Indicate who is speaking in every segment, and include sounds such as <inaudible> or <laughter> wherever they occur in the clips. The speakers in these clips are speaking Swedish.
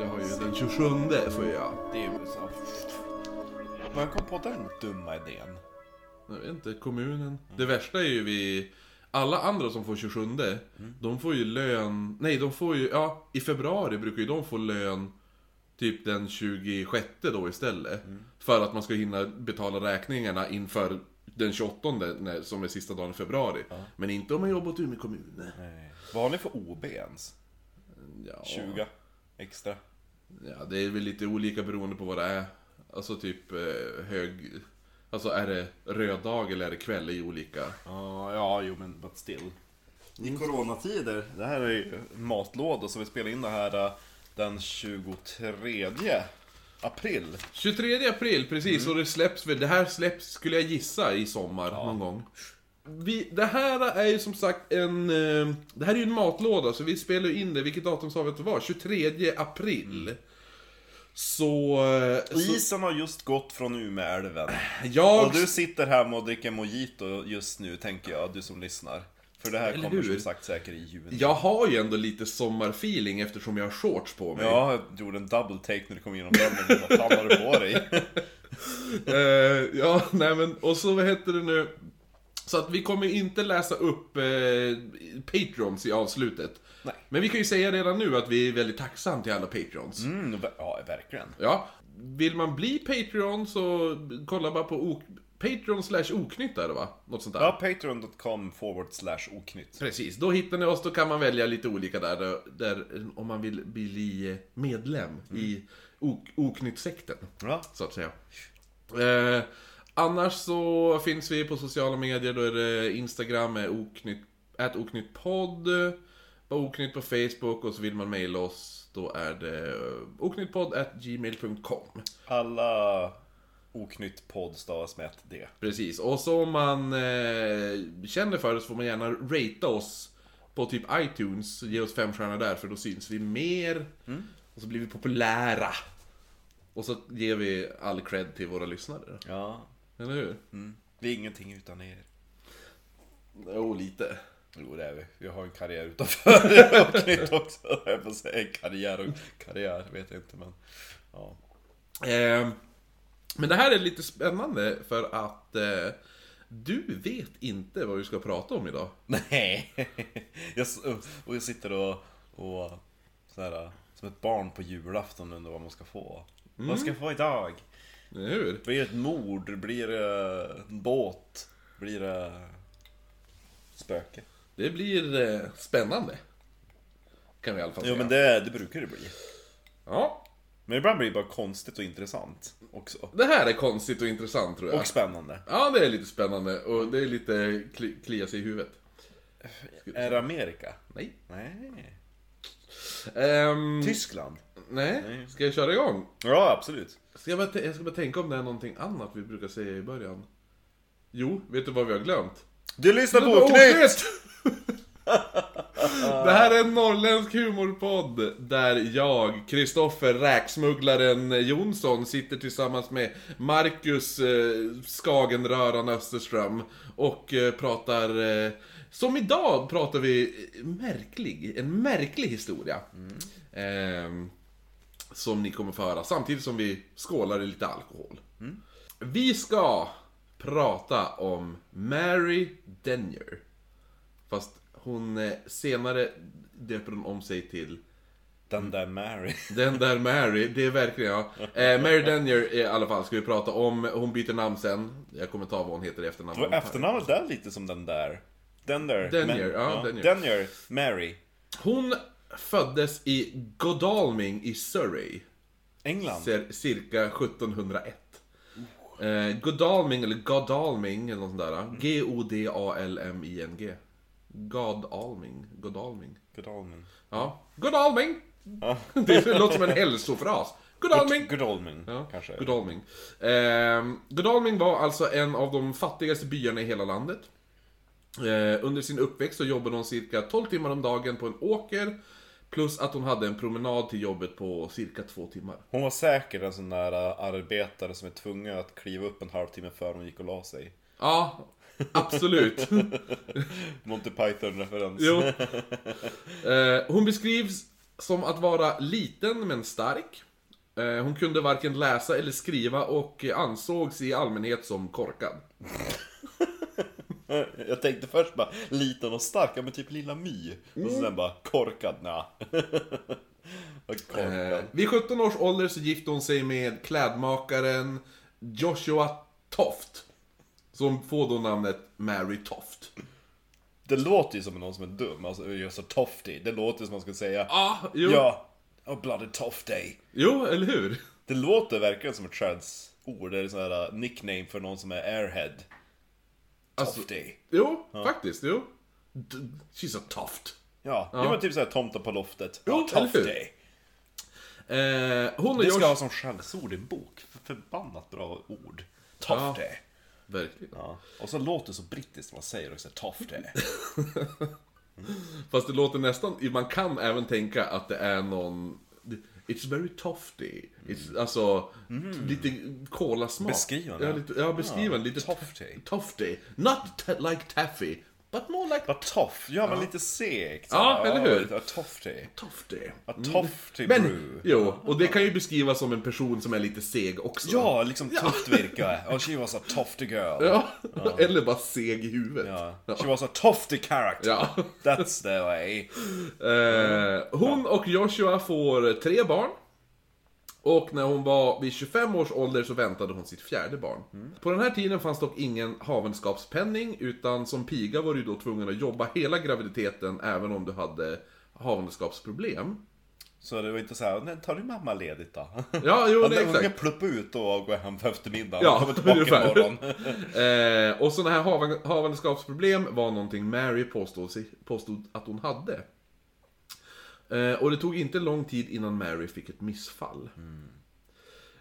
Speaker 1: Jag har ju den 27 får jag.
Speaker 2: Det är ju så. Vem kom på den dumma idén?
Speaker 1: Jag vet inte, kommunen. Det värsta är ju vi... Alla andra som får 27, de får ju lön... Nej, de får ju... Ja, i februari brukar ju de få lön typ den 26 då istället. För att man ska hinna betala räkningarna inför den 28 när, som är sista dagen i februari. Men inte om man jobbat i Umeå kommun.
Speaker 2: Vad har ni för OB ens?
Speaker 1: Ja,
Speaker 2: 20 extra?
Speaker 1: ja, det är väl lite olika beroende på vad det är. Alltså typ eh, hög... Alltså är det röd dag eller är det kväll? Det är ju olika.
Speaker 2: Ja, ja, jo men but still. I coronatider, det här är ju matlådor så vi spelar in det här eh, den 23 april.
Speaker 1: 23 april, precis. Och det släpps väl, det här släpps, skulle jag gissa, i sommar någon gång. Vi, det här är ju som sagt en... eh, Det här är ju en matlåda, så vi spelar ju in det. Vilket datum sa vi att det var? 23 april. Så... eh, så
Speaker 2: Isen har just gått från Umeälven.
Speaker 1: jag...
Speaker 2: Och du sitter hemma och dricker mojito just nu tänker jag, du som lyssnar. För det här
Speaker 1: Eller
Speaker 2: kommer
Speaker 1: hur?
Speaker 2: som sagt säkert i juni.
Speaker 1: Jag har ju ändå lite sommarfeeling eftersom jag har shorts på mig.
Speaker 2: Ja, jag gjorde en double take när du kom genom dörren. Vad fan har du på dig?
Speaker 1: Eh, ja, <laughs> nej men, och så vad heter det nu? Så att vi kommer inte läsa upp eh, Patrons i avslutet.
Speaker 2: Nej.
Speaker 1: Men vi kan ju säga redan nu att vi är väldigt tacksamma till alla Patrons.
Speaker 2: Mm, ver- ja, verkligen.
Speaker 1: Ja. Vill man bli Patreon så kolla bara på ok- Patreon slash oknytt är det va? Något sånt där.
Speaker 2: Ja, patreon.com forward slash oknytt.
Speaker 1: Precis, då hittar ni oss, då kan man välja lite olika där, där, där om man vill bli eh, medlem
Speaker 2: Mm.
Speaker 1: i ok- oknytt-sekten.
Speaker 2: Ja,
Speaker 1: så att säga. Eh, annars så finns vi på sociala medier, då är det Instagram med oknytt, at oknyttpodd, på oknytt på Facebook och så vill man mejla oss, då är det eh, oknyttpodd at gmail.com.
Speaker 2: alla oknytt podd stavas med ett D.
Speaker 1: Precis, och så om man eh, känner för det så får man gärna ratea oss på typ iTunes, ge oss fem stjärnor där för då syns vi mer och så blir vi populära. Och så ger vi all cred till våra lyssnare,
Speaker 2: Ja.
Speaker 1: eller hur?
Speaker 2: Vi är ingenting utan er.
Speaker 1: Jo, lite.
Speaker 2: Jo, det är vi. Vi har en karriär <laughs> utanför oknytt också. Jag får säga en karriär och karriär, vet jag inte men. Ja.
Speaker 1: Eh, men det här är lite spännande för att eh, du vet inte vad vi ska prata om idag.
Speaker 2: Nej. <laughs> Jag, s- och jag sitter och, och sådär, som ett barn på julafton undrar vad man ska få. Vad ska jag få idag?
Speaker 1: Eller hur?
Speaker 2: Blir det ett mord? Blir det en båt? Blir det spöke?
Speaker 1: Det blir eh, spännande. Kan vi i alla fall
Speaker 2: Jo
Speaker 1: säga.
Speaker 2: men det, det brukar det bli.
Speaker 1: Ja,
Speaker 2: Men ibland blir det bara konstigt och intressant också.
Speaker 1: det här är konstigt och intressant tror jag.
Speaker 2: Och spännande.
Speaker 1: Ja, det är lite spännande och det är lite kli, klia sig i huvudet.
Speaker 2: Är det Amerika?
Speaker 1: Nej. Mm.
Speaker 2: Nej.
Speaker 1: Ehm,
Speaker 2: Tyskland?
Speaker 1: nej. Ska jag köra igång?
Speaker 2: Ja, absolut.
Speaker 1: Ska jag, bara t- jag ska bara tänka om det är någonting annat vi brukar säga i början. Jo, vet du vad vi har glömt?
Speaker 2: Du lyssnar på
Speaker 1: Oknytt!
Speaker 2: Oknytt!
Speaker 1: <laughs> Det här är en norrländsk humorpodd där jag, Kristoffer Räksmugglaren Jonsson, sitter tillsammans med Marcus eh, Skagenröran Österström och eh, pratar... Eh, som idag pratar vi eh, märklig, en märklig historia. Ehm, som ni kommer få höra, samtidigt som vi skålar i lite alkohol. Vi ska prata om Mary Denyer. Fast hon eh, senare döper hon om sig till
Speaker 2: Den där Mary.
Speaker 1: den där Mary, det är verkligen jag. Eh, Mary Denyer i alla fall ska vi prata om. Hon byter namn sen. Jag kommer ta vad hon heter i efternamn.
Speaker 2: Var efternamnet där lite som den där? Den där?
Speaker 1: Denyer,
Speaker 2: Men-
Speaker 1: ja, Denyer.
Speaker 2: Denyer, Mary.
Speaker 1: Hon föddes i Godalming i Surrey.
Speaker 2: England.
Speaker 1: Cir- cirka 1701. Eh, Godalming, eller Godalming, eller något sånt
Speaker 2: Mm.
Speaker 1: där. G-O-D-A-L-M-I-N-G. Godalming, Godalming.
Speaker 2: Godalming.
Speaker 1: Ja, Godalming!
Speaker 2: Ja.
Speaker 1: <laughs> Det låter som en hälsofras. Godalming!
Speaker 2: Godalming,
Speaker 1: Ja,
Speaker 2: kanske.
Speaker 1: Godalming. Eh, Godalming var alltså en av de fattigaste byarna i hela landet. Eh, under sin uppväxt så jobbade hon cirka 12 timmar om dagen på en åker. Plus att hon hade en promenad till jobbet på cirka två timmar.
Speaker 2: Hon var säkert en sån där äh, arbetare som är tvungen att kliva upp en halvtimme före hon gick och la sig.
Speaker 1: Ja,
Speaker 2: <laughs>
Speaker 1: absolut.
Speaker 2: Monty Python-referens.
Speaker 1: jo. Eh, hon beskrivs som att vara liten men stark. Eh, Hon kunde varken läsa eller skriva och ansågs i allmänhet som korkad.
Speaker 2: Jag tänkte först bara liten och stark, ja men typ Lilla My.
Speaker 1: Mm.
Speaker 2: Och sen bara korkad, nja. <laughs> Vad korkad.
Speaker 1: Eh, Vid 17 års ålder så gifte hon sig med klädmakaren Joshua Toft. Som får då namnet Mary Toft.
Speaker 2: Det låter ju som någon som är dum, alltså gör så toftig. Det låter som man skulle säga
Speaker 1: Ah, jo.
Speaker 2: Ja, oh bloody toftig.
Speaker 1: jo, eller hur?
Speaker 2: Det låter verkligen som ett transord, eller sån här uh, nickname för någon som är airhead.
Speaker 1: Alltså-
Speaker 2: Toftig.
Speaker 1: Jo, faktiskt, jo. D- She's a Toft.
Speaker 2: Ja, ja. men typ såhär tomten på loftet.
Speaker 1: Jo,
Speaker 2: Ja,
Speaker 1: eller hur?
Speaker 2: toftig.
Speaker 1: Eh, hon och
Speaker 2: Det ska
Speaker 1: Joshua...
Speaker 2: jag ha som skällsord i en bok. För- Förbannat bra ord. Tofte. Ja.
Speaker 1: Verkligen.
Speaker 2: Och så låter det så brittiskt när man säger också tofte.
Speaker 1: Fast det låter nästan, man kan även tänka att det är någon... It's very tofty. It's, Alltså, lite kolasmak.
Speaker 2: Beskriv den,
Speaker 1: Ja,
Speaker 2: ja.
Speaker 1: lite, ja beskriv den. Lite
Speaker 2: tofty.
Speaker 1: Tofty. Not ta- like taffy, but more like
Speaker 2: Vad toff, ja men lite segt. så
Speaker 1: Ja,
Speaker 2: här.
Speaker 1: eller hur?
Speaker 2: Ja, tofte.
Speaker 1: tofty.
Speaker 2: Ja, tofte
Speaker 1: Men,
Speaker 2: brew.
Speaker 1: jo, och det kan ju beskrivas som en person som är lite seg också.
Speaker 2: Ja, liksom tufft virke. Och she was a tofte girl.
Speaker 1: Ja. <laughs> Eller bara seg i huvudet.
Speaker 2: Ja. She was a tofte character.
Speaker 1: Ja.
Speaker 2: That's the way.
Speaker 1: Eh, hon och Joshua får tre barn. Och när hon var vid 25 års ålder så väntade hon sitt fjärde barn. På den här tiden fanns dock ingen havandeskapspenning, utan som piga var du då tvungen att jobba hela graviditeten även om du hade havandeskapsproblem.
Speaker 2: Så det var inte så här, "Nej, tar du mamma ledigt då?
Speaker 1: Ja, jo,
Speaker 2: Hon
Speaker 1: nej,
Speaker 2: kan
Speaker 1: exakt.
Speaker 2: pluppa ut och gå hem på eftermiddagen
Speaker 1: Ja,
Speaker 2: och komma tillbaka
Speaker 1: ungefär.
Speaker 2: imorgon.
Speaker 1: Eh, och sådana här havan- havandeskapsproblem var någonting Mary påstod, sig, påstod att hon hade. Eh, och det tog inte lång tid innan Mary fick ett missfall.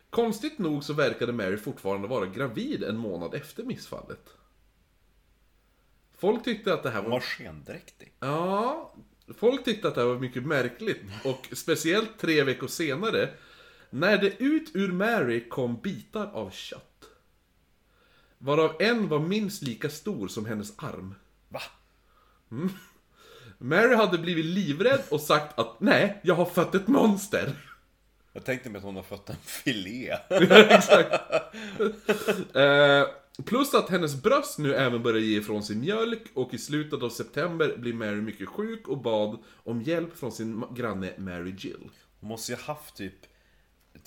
Speaker 1: Konstigt nog så verkade Mary fortfarande vara gravid en månad efter missfallet. Folk tyckte att det här
Speaker 2: Hon
Speaker 1: var...
Speaker 2: var skendräktig.
Speaker 1: Ja, folk tyckte att det här var mycket märkligt. Och speciellt tre veckor senare, när det ut ur Mary kom bitar av kött. Varav en var minst lika stor som hennes arm.
Speaker 2: Va?
Speaker 1: Mary hade blivit livrädd och sagt att nej, jag har fött ett monster.
Speaker 2: Jag tänkte mig att hon har fått en filé.
Speaker 1: Exakt. Eh, plus att hennes bröst nu även börjar ge ifrån sig mjölk och i slutet av september blir Mary mycket sjuk och bad om hjälp från sin ma- granne Mary Jill.
Speaker 2: Hon måste ju ha haft typ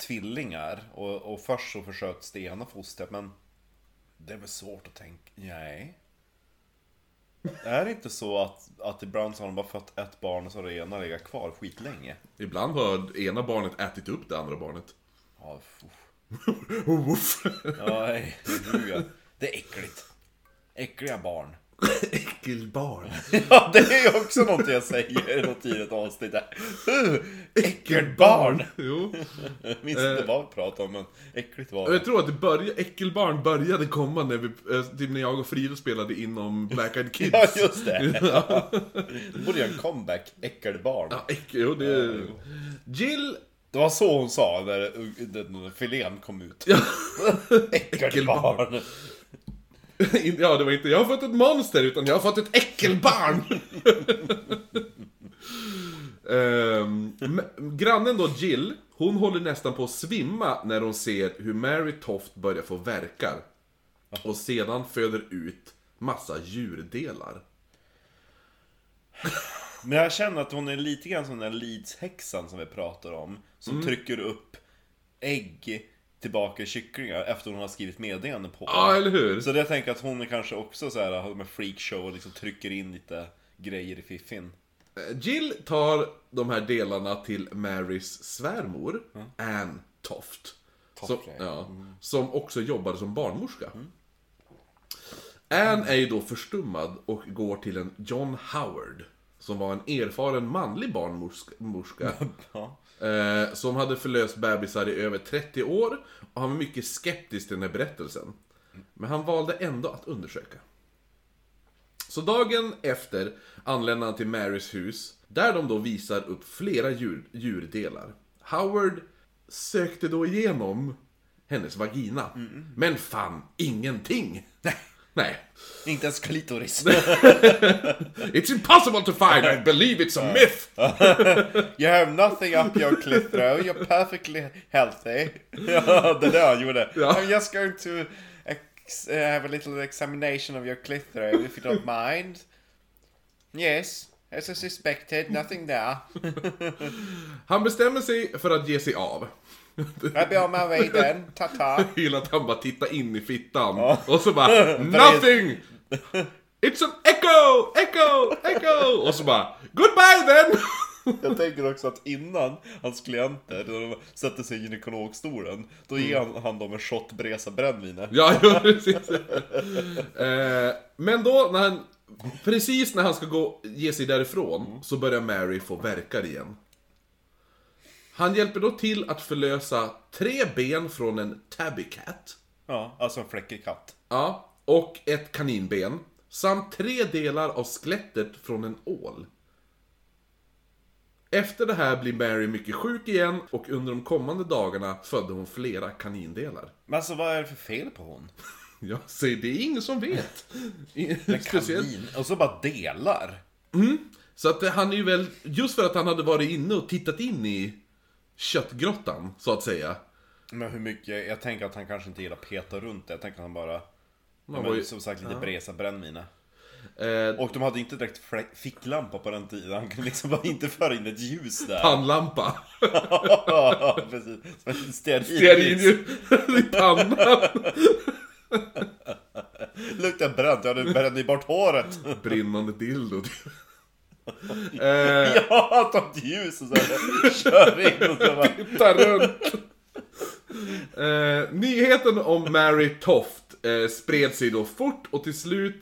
Speaker 2: tvillingar och, och först så försköts det ena fostret men det är väl svårt att tänka, nej. Är det inte så att, att ibland så har de bara fött ett barn och så har det ena legat kvar skitlänge?
Speaker 1: Ibland har ena barnet ätit upp det andra barnet.
Speaker 2: Ja, uff.
Speaker 1: Woof.
Speaker 2: Ja, nej, det tror jag. Det är äckligt. Äckliga barn. <laughs>
Speaker 1: Äckelbarn.
Speaker 2: Ja, det är ju också något jag säger i något tidigt avsnitt där. Uh, Äckligt barn!
Speaker 1: Jo.
Speaker 2: Jag minns inte vad vi pratade om, men äckligt var det.
Speaker 1: Jag tror att det började, äckelbarn började komma när, vi, eh, typ när jag och Frida spelade inom Black Eyed Kids.
Speaker 2: Ja,
Speaker 1: <laughs>
Speaker 2: just det. Det borde göra en comeback, äckelbarn.
Speaker 1: Ja, äckel, jo, det... Jill
Speaker 2: Det var så hon sa när den filén kom ut. <laughs>
Speaker 1: Ja.
Speaker 2: Äckelbarn.
Speaker 1: In- <laughs> Ja, det var inte jag har fått ett monster, utan jag har fått ett äckelbarn! <laughs> Ehm, m- grannen då, Jill, hon håller nästan på att svimma när hon ser hur Mary Toft börjar få verkar. Och sedan föder ut massa djurdelar.
Speaker 2: Men jag känner att hon är lite grann som den där Leeds-häxan som vi pratar om. Som
Speaker 1: Mm.
Speaker 2: trycker upp ägg tillbaka i kycklingar efter hon har skrivit meddelanden på
Speaker 1: Ja, eller hur?
Speaker 2: Så det jag tänker att hon kanske också så här har med freakshow och liksom trycker in lite grejer i fiffin.
Speaker 1: Jill tar de här delarna till Marys svärmor, Ann Toft. Som,
Speaker 2: Toft, ja. Mm.
Speaker 1: ja, som också jobbade som barnmorska. Ann är ju då förstummad och går till en John Howard. Som var en erfaren manlig barnmorska.
Speaker 2: Ja.
Speaker 1: eh, som hade förlöst bebisar i över 30 år. Och han var mycket skeptisk till den här berättelsen. Men han valde ändå att undersöka. Så dagen efter anländer han till Marys hus, där de då visar upp flera djur, djurdelar. Howard sökte då igenom hennes vagina, men fann ingenting. Nej.
Speaker 2: Inte ens klitoris.
Speaker 1: It's impossible to find, I believe it's a myth!
Speaker 2: You have nothing up your clit though, you're perfectly healthy. <laughs> ja, det där han gjorde.
Speaker 1: Ja.
Speaker 2: I'm just going to ex- eh, have a little examination of your clit though, if you don't mind. Yes, as I suspected, nothing there.
Speaker 1: Han bestämmer sig för att ge sig av.
Speaker 2: I'll be on my way then, ta-ta.
Speaker 1: Jag gillar att han bara tittar in i fittan och så bara Nothing! It's an echo! Echo! Echo! Och så bara Goodbye then! <laughs>
Speaker 2: Jag tänker också att innan hans klienter när de sätter sig i gynekologstolen, då ger han, han dem en shot Bresa brännvin.
Speaker 1: ja, jo, precis. Eh, Men då när han Precis när han ska gå, ge sig därifrån så börjar Mary få verkar igen. Han hjälper då till att förlösa tre ben från en tabby cat.
Speaker 2: Ja, alltså en fläckig katt.
Speaker 1: Ja, och ett kaninben. Samt tre delar av skelettet från en ål. Efter det här blir Mary mycket sjuk igen och under de kommande dagarna födde hon flera kanindelar.
Speaker 2: Men alltså vad är det för fel på hon?
Speaker 1: Jag säger, det är ingen som vet. I- Speciellt.
Speaker 2: Kanin. Och så bara delar.
Speaker 1: Så att eh, han är ju väl, just för att han hade varit inne och tittat in i köttgrottan, så att säga.
Speaker 2: Men hur mycket, jag tänker att han kanske inte gillar att peta runt det. Jag tänker att han bara...
Speaker 1: Man
Speaker 2: men,
Speaker 1: var ju,
Speaker 2: Som sagt lite Bresa brännvina.
Speaker 1: eh,
Speaker 2: Och de hade inte direkt fläck- ficklampa på den tiden. Han kunde liksom bara inte föra in ett ljus där.
Speaker 1: pannlampa.
Speaker 2: <laughs> Precis. Som en stearinljus.
Speaker 1: Stearinljus <laughs> i pannan.
Speaker 2: Luktar bränt. Ja, du bränner ju bort håret. <laughs>
Speaker 1: Brinnande dildo. <laughs> eh,
Speaker 2: Ja, ta ett ljus och så här, kör in och så bara...
Speaker 1: Titta runt. Eh, nyheten om Mary Toft eh, spred sig då fort och till slut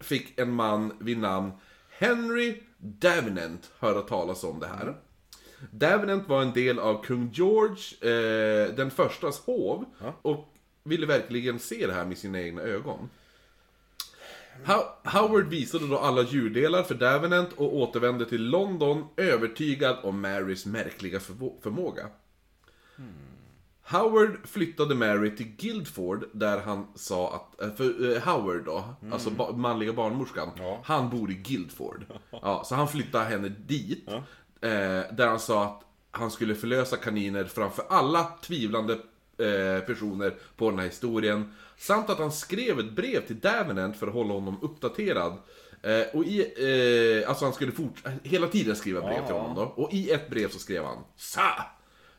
Speaker 1: fick en man vid namn Henry Davenant höra talas om det här. Davenant var en del av kung George eh, den förstas hov och ville verkligen se det här med sina egna ögon. How- Howard visade då alla djurdelar för Davenant och återvände till London övertygad om Marys märkliga förvo- förmåga. Howard flyttade Mary till Guildford där han sa att, eh, för eh, Howard då, alltså ba- manliga barnmorskan,
Speaker 2: Ja.
Speaker 1: han bor i Guildford. Ja, så han flyttade henne dit, eh, där han sa att han skulle förlösa kaniner framför alla tvivlande eh, personer på den här historien. Samt att han skrev ett brev till Davenant för att hålla honom uppdaterad. Eh, och i, eh, alltså han skulle fort, hela tiden skriva brev till honom då. Och i ett brev så skrev han Sa!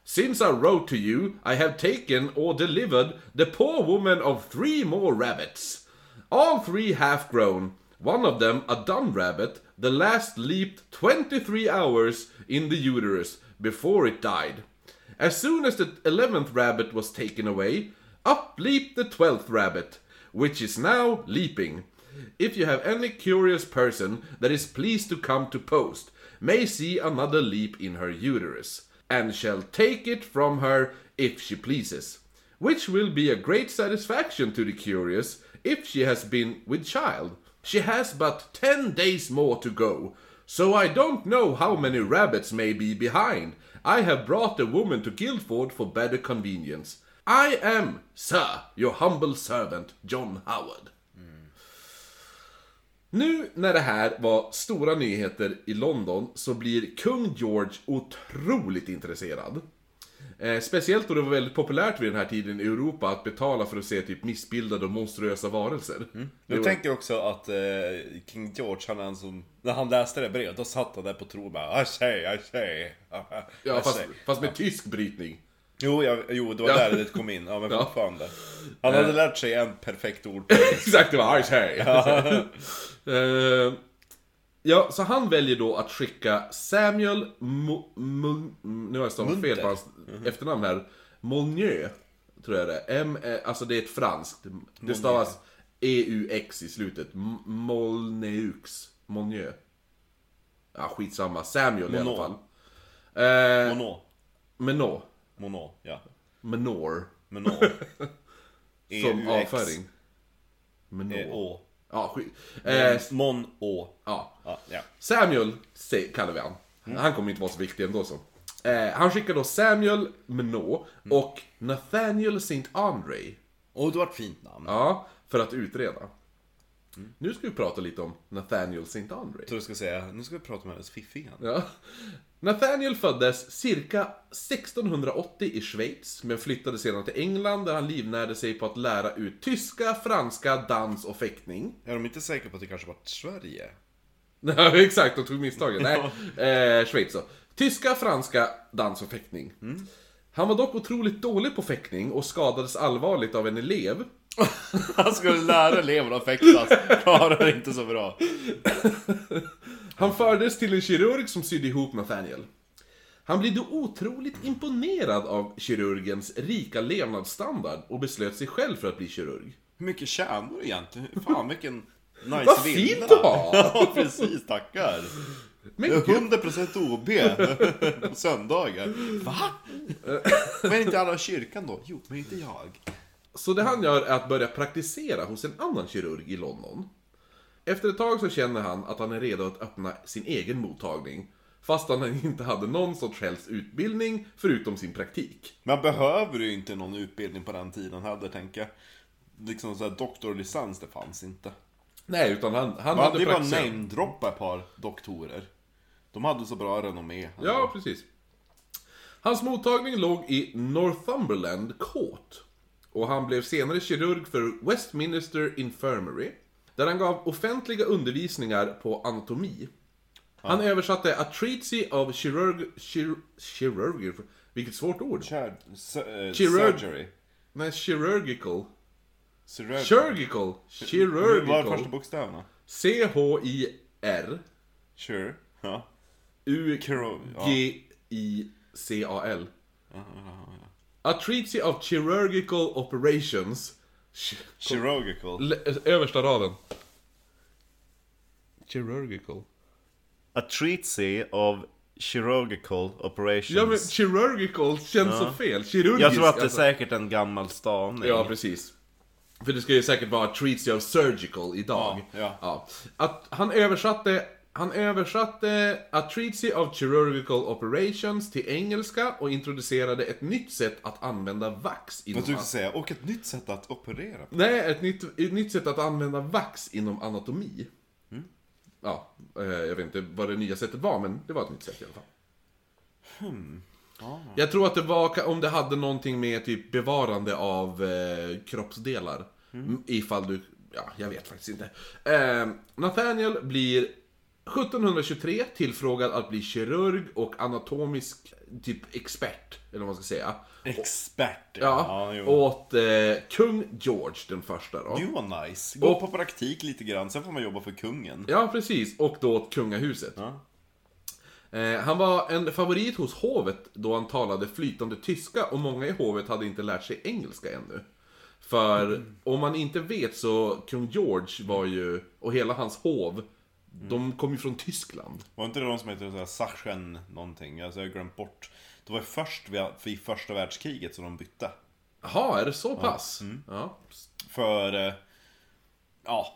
Speaker 1: Since I wrote to you, I have taken or delivered the poor woman of three more rabbits. All three half grown, one of them a dun rabbit, the last leaped 23 hours in the uterus before it died. As soon as the 11th rabbit was taken away, up leaped the 12th rabbit, which is now leaping. If you have any curious person that is pleased to come to post, may see another leap in her uterus, and shall take it from her if she pleases, which will be a great satisfaction to the curious if she has been with child. She has but ten days more to go, so I don't know how many rabbits may be behind. I have brought the woman to Guildford for better convenience. I am, sir, your humble servant, John Howard. Nu när det här var stora nyheter i London så blir kung George otroligt intresserad. Eh, speciellt då det var väldigt populärt vid den här tiden i Europa att betala för att se typ missbildade och monstruösa varelser.
Speaker 2: Jag tänker också att eh, King George, han är en sån... När han läste det brevet, då satt han där på tron och bara Ashay, ashay,
Speaker 1: Ja, fast,
Speaker 2: Alltså,
Speaker 1: fast med tysk brytning.
Speaker 2: Jo, jag, jo, det var där det kom in. Ja, Eh. men
Speaker 1: Ja.
Speaker 2: fortfarande. Han hade lärt sig en perfekt ord.
Speaker 1: <laughs> Exakt, det var Ice Harry. <laughs> Eh, Ja, så han väljer då att skicka Samuel Mo- Mo- Nu har jag stavat fel på hans efternamn här. Monnieu, tror jag det är. M- eh, alltså det är ett franskt. Det stavas EUX i slutet. M- Molneux. Monnieu. Ja, skitsamma. Samuel i alla
Speaker 2: Monod.
Speaker 1: fall. Eh,
Speaker 2: Mono.
Speaker 1: Menor.
Speaker 2: Mono, ja.
Speaker 1: Menor.
Speaker 2: <laughs> Mono. E
Speaker 1: Som
Speaker 2: EUX,
Speaker 1: avföring. Menor.
Speaker 2: E Å.
Speaker 1: Ja, skit. Eh,
Speaker 2: Mon Å.
Speaker 1: ja.
Speaker 2: Ja, ja.
Speaker 1: Samuel se- kallar vi han. Han kommer inte vara så viktig ändå så. Eh, han skickar då Samuel Menot och Nathaniel St. Andre.
Speaker 2: Och det var ett fint namn.
Speaker 1: Ja, för att utreda. Nu ska vi prata lite om Nathaniel St. Andre.
Speaker 2: tror du ska säga, nu ska vi prata med hennes fiffi igen.
Speaker 1: Ja. Nathaniel föddes cirka 1680 i Schweiz, men flyttade sedan till England där han livnärde sig på att lära ut tyska, franska, dans och fäktning.
Speaker 2: Är de inte säkra på att det kanske var Sverige?
Speaker 1: <laughs> Ja, exakt, de tog misstaget. Nej, eh, Schweiz då. Tyska, franska, dans och fäktning. Han var dock otroligt dålig på fäktning och skadades allvarligt av en elev.
Speaker 2: <laughs> Han skulle lära eleverna att fäktas, klarar det inte så bra.
Speaker 1: Han fördes till en kirurg som sydde ihop Nathaniel. Han blev då otroligt imponerad av kirurgens rika levnadsstandard och beslöt sig själv för att bli kirurg.
Speaker 2: Hur mycket tjänar du egentligen? Fan vilken nice
Speaker 1: Vad
Speaker 2: villa.
Speaker 1: fint du har!
Speaker 2: <laughs> Ja precis, tackar!
Speaker 1: Men
Speaker 2: Jag är
Speaker 1: gud,
Speaker 2: 100% OB på söndagar. Va? Men inte alla i kyrkan då? Jo, men inte jag.
Speaker 1: så det han gör är att börja praktisera hos en annan kirurg i London. Efter ett tag så känner han att han är redo att öppna sin egen mottagning. Fast han inte hade någon sorts helst utbildning förutom sin praktik.
Speaker 2: Man behöver ju inte någon utbildning på den tiden heller, tänker jag. Liksom så här doktorlicens, det fanns inte.
Speaker 1: Nej, utan han, han
Speaker 2: Man hade
Speaker 1: hade
Speaker 2: ju bara
Speaker 1: praktiserat.
Speaker 2: namedroppat ett par doktorer. De hade så bra renommé.
Speaker 1: Ja, precis. Hans mottagning låg i Northumberland Court. Och han blev senare kirurg för Westminster Infirmary. Där han gav offentliga undervisningar på anatomi. Han översatte A Treatise of Chirurg... Chir, chirurg... Vilket svårt ord.
Speaker 2: Chir- su- eh,
Speaker 1: Chirurg-
Speaker 2: Surgery.
Speaker 1: Nej, chirurgical.
Speaker 2: Surgery.
Speaker 1: Chirurgical.
Speaker 2: Vad var första
Speaker 1: Chirurgical.
Speaker 2: bokstäverna?
Speaker 1: C-H-I-R.
Speaker 2: Sure. Ja. Kiro- ja.
Speaker 1: U-G-I-C-A-L. A Treatise of Chirurgical Operations. Ch-
Speaker 2: Chirurgical.
Speaker 1: l- Översta raden. Chirurgical.
Speaker 2: A treatise of chirurgical
Speaker 1: Ja men
Speaker 2: operations.
Speaker 1: chirurgical känns så fel. Kirurgisk.
Speaker 2: Jag tror att det är
Speaker 1: alltså.
Speaker 2: säkert en gammal stavning.
Speaker 1: Ja, precis. För det ska ju säkert vara Treatise of Surgical idag.
Speaker 2: Ja, ja.
Speaker 1: Att han översatte, han översatte A Treatise of Chirurgical Operations till engelska och introducerade ett nytt sätt att använda vax inom
Speaker 2: Vad du skulle säga, och ett nytt sätt att operera på.
Speaker 1: Nej, ett nytt, ett nytt sätt att använda vax inom anatomi. Mm. Ja, eh, jag vet inte vad det nya sättet var, men det var ett nytt sätt i alla fall. Hmm. Jag tror att det var ka- om det hade någonting med typ bevarande av eh, kroppsdelar. Mm. Ifall du... Ja, jag vet faktiskt inte. Eh, Nathaniel blir 1723 tillfrågad att bli kirurg och anatomisk typ expert, eller vad man ska säga.
Speaker 2: Expert,
Speaker 1: Ja,
Speaker 2: jo.
Speaker 1: åt eh, kung George den första då.
Speaker 2: Det var nice. Gå på praktik lite grann, sen får man jobba för kungen.
Speaker 1: Ja, precis. Och då åt kungahuset.
Speaker 2: Ja.
Speaker 1: Eh, han var en favorit hos hovet då han talade flytande tyska och många i hovet hade inte lärt sig engelska ännu. För om man inte vet så kung George var ju, och hela hans hov, de kom ju från Tyskland.
Speaker 2: Var inte det de som heter såhär Sachsen någonting? Alltså jag har glömt bort. Det var ju först vid, vid första världskriget som de bytte.
Speaker 1: Jaha, är det så pass? Ja.
Speaker 2: För, eh, ja.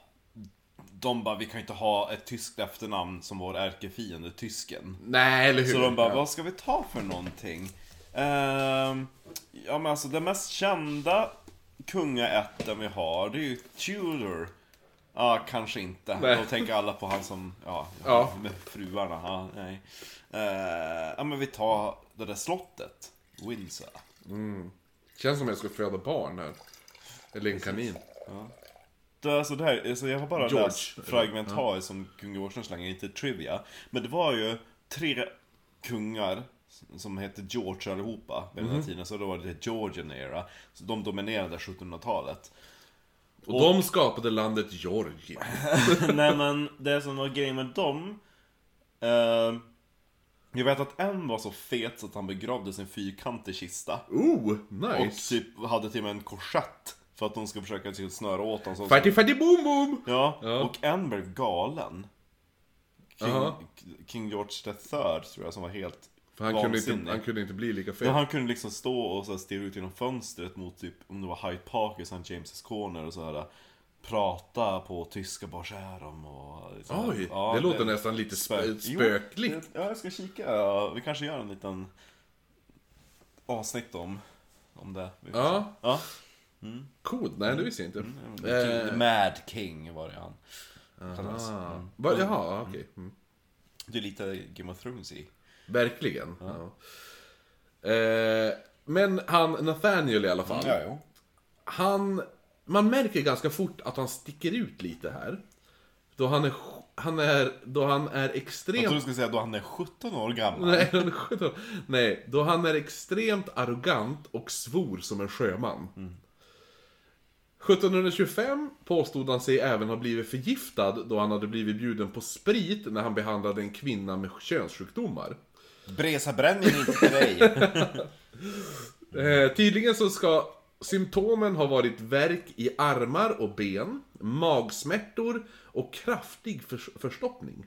Speaker 2: De bara, vi kan ju inte ha ett tyskt efternamn som vår ärkefiende, tysken.
Speaker 1: Nej, eller hur?
Speaker 2: Så de bara,
Speaker 1: ja.
Speaker 2: vad ska vi ta för någonting? Ehm, ja men alltså den mest kända kungaätten vi har, det är ju Tudor. Ja, kanske inte.
Speaker 1: Nej.
Speaker 2: Då tänker alla på han som, ja,
Speaker 1: Ja.
Speaker 2: med fruarna. Ja, nej. Ehm, ja men vi tar det där slottet, Windsor.
Speaker 1: Känns som jag ska föda barn här. Eller en kanin.
Speaker 2: Det, alltså det här, alltså jag har bara
Speaker 1: George,
Speaker 2: läst fragmentariskt som kung George slänger, inte trivia. Men det var ju tre kungar som hette George allihopa vid den här tiden, så då var det Georgian era. Så de dominerade 1700-talet.
Speaker 1: Och, de skapade landet Georgien.
Speaker 2: <laughs> Nej men det som var grejen med dem eh, Jag vet att en var så fet så att han begravde sin fyrkantig kista.
Speaker 1: Oh,
Speaker 2: Och
Speaker 1: nice!
Speaker 2: typ hade till och med en korsett för att de ska försöka typ snöra åt honom. så-
Speaker 1: Fatty fatty boom boom!
Speaker 2: Ja,
Speaker 1: Ja.
Speaker 2: och en blev galen. King,
Speaker 1: Jaha.
Speaker 2: King George the third tror jag som var helt
Speaker 1: För han kunde, inte,
Speaker 2: vansinnig.
Speaker 1: han kunde inte bli lika fet.
Speaker 2: Men han kunde liksom stå och så här stirra ut genom fönstret mot typ, om det var Hyde Park i St. James's Corner och så här Prata på tyska, bara så här om och... så här.
Speaker 1: Oj,
Speaker 2: Ja,
Speaker 1: det låter nästan lite spö-
Speaker 2: Jo,
Speaker 1: spökligt.
Speaker 2: det- Ja, jag ska kika. Ja, Vi kanske gör en liten avsnitt om, om det. Vi får
Speaker 1: Ja.
Speaker 2: se. ja.
Speaker 1: Coolt, nej det visste jag inte. Eh.
Speaker 2: Typ Mad King var det han. kallades.
Speaker 1: Ah. Va, jaha, okej. Mm.
Speaker 2: Det är lite Game of Thrones i.
Speaker 1: Verkligen. Ja. Eh, men han Nathaniel i alla fall.
Speaker 2: Ja, jo.
Speaker 1: Han, man märker ganska fort att han sticker ut lite här. Då han är, han är, då han är
Speaker 2: Jag trodde
Speaker 1: extremt...
Speaker 2: du skulle säga då han är 17 år gammal.
Speaker 1: <laughs> Nej, han är 17. Nej, då han är extremt arrogant och svor som en sjöman. 1725 påstod han sig även ha blivit förgiftad då han hade blivit bjuden på sprit när han behandlade en kvinna med könssjukdomar.
Speaker 2: Bresa bränner inte till dig.
Speaker 1: Eh, tydligen så ska symptomen ha varit värk i armar och ben, magsmärtor och kraftig förs- förstoppning.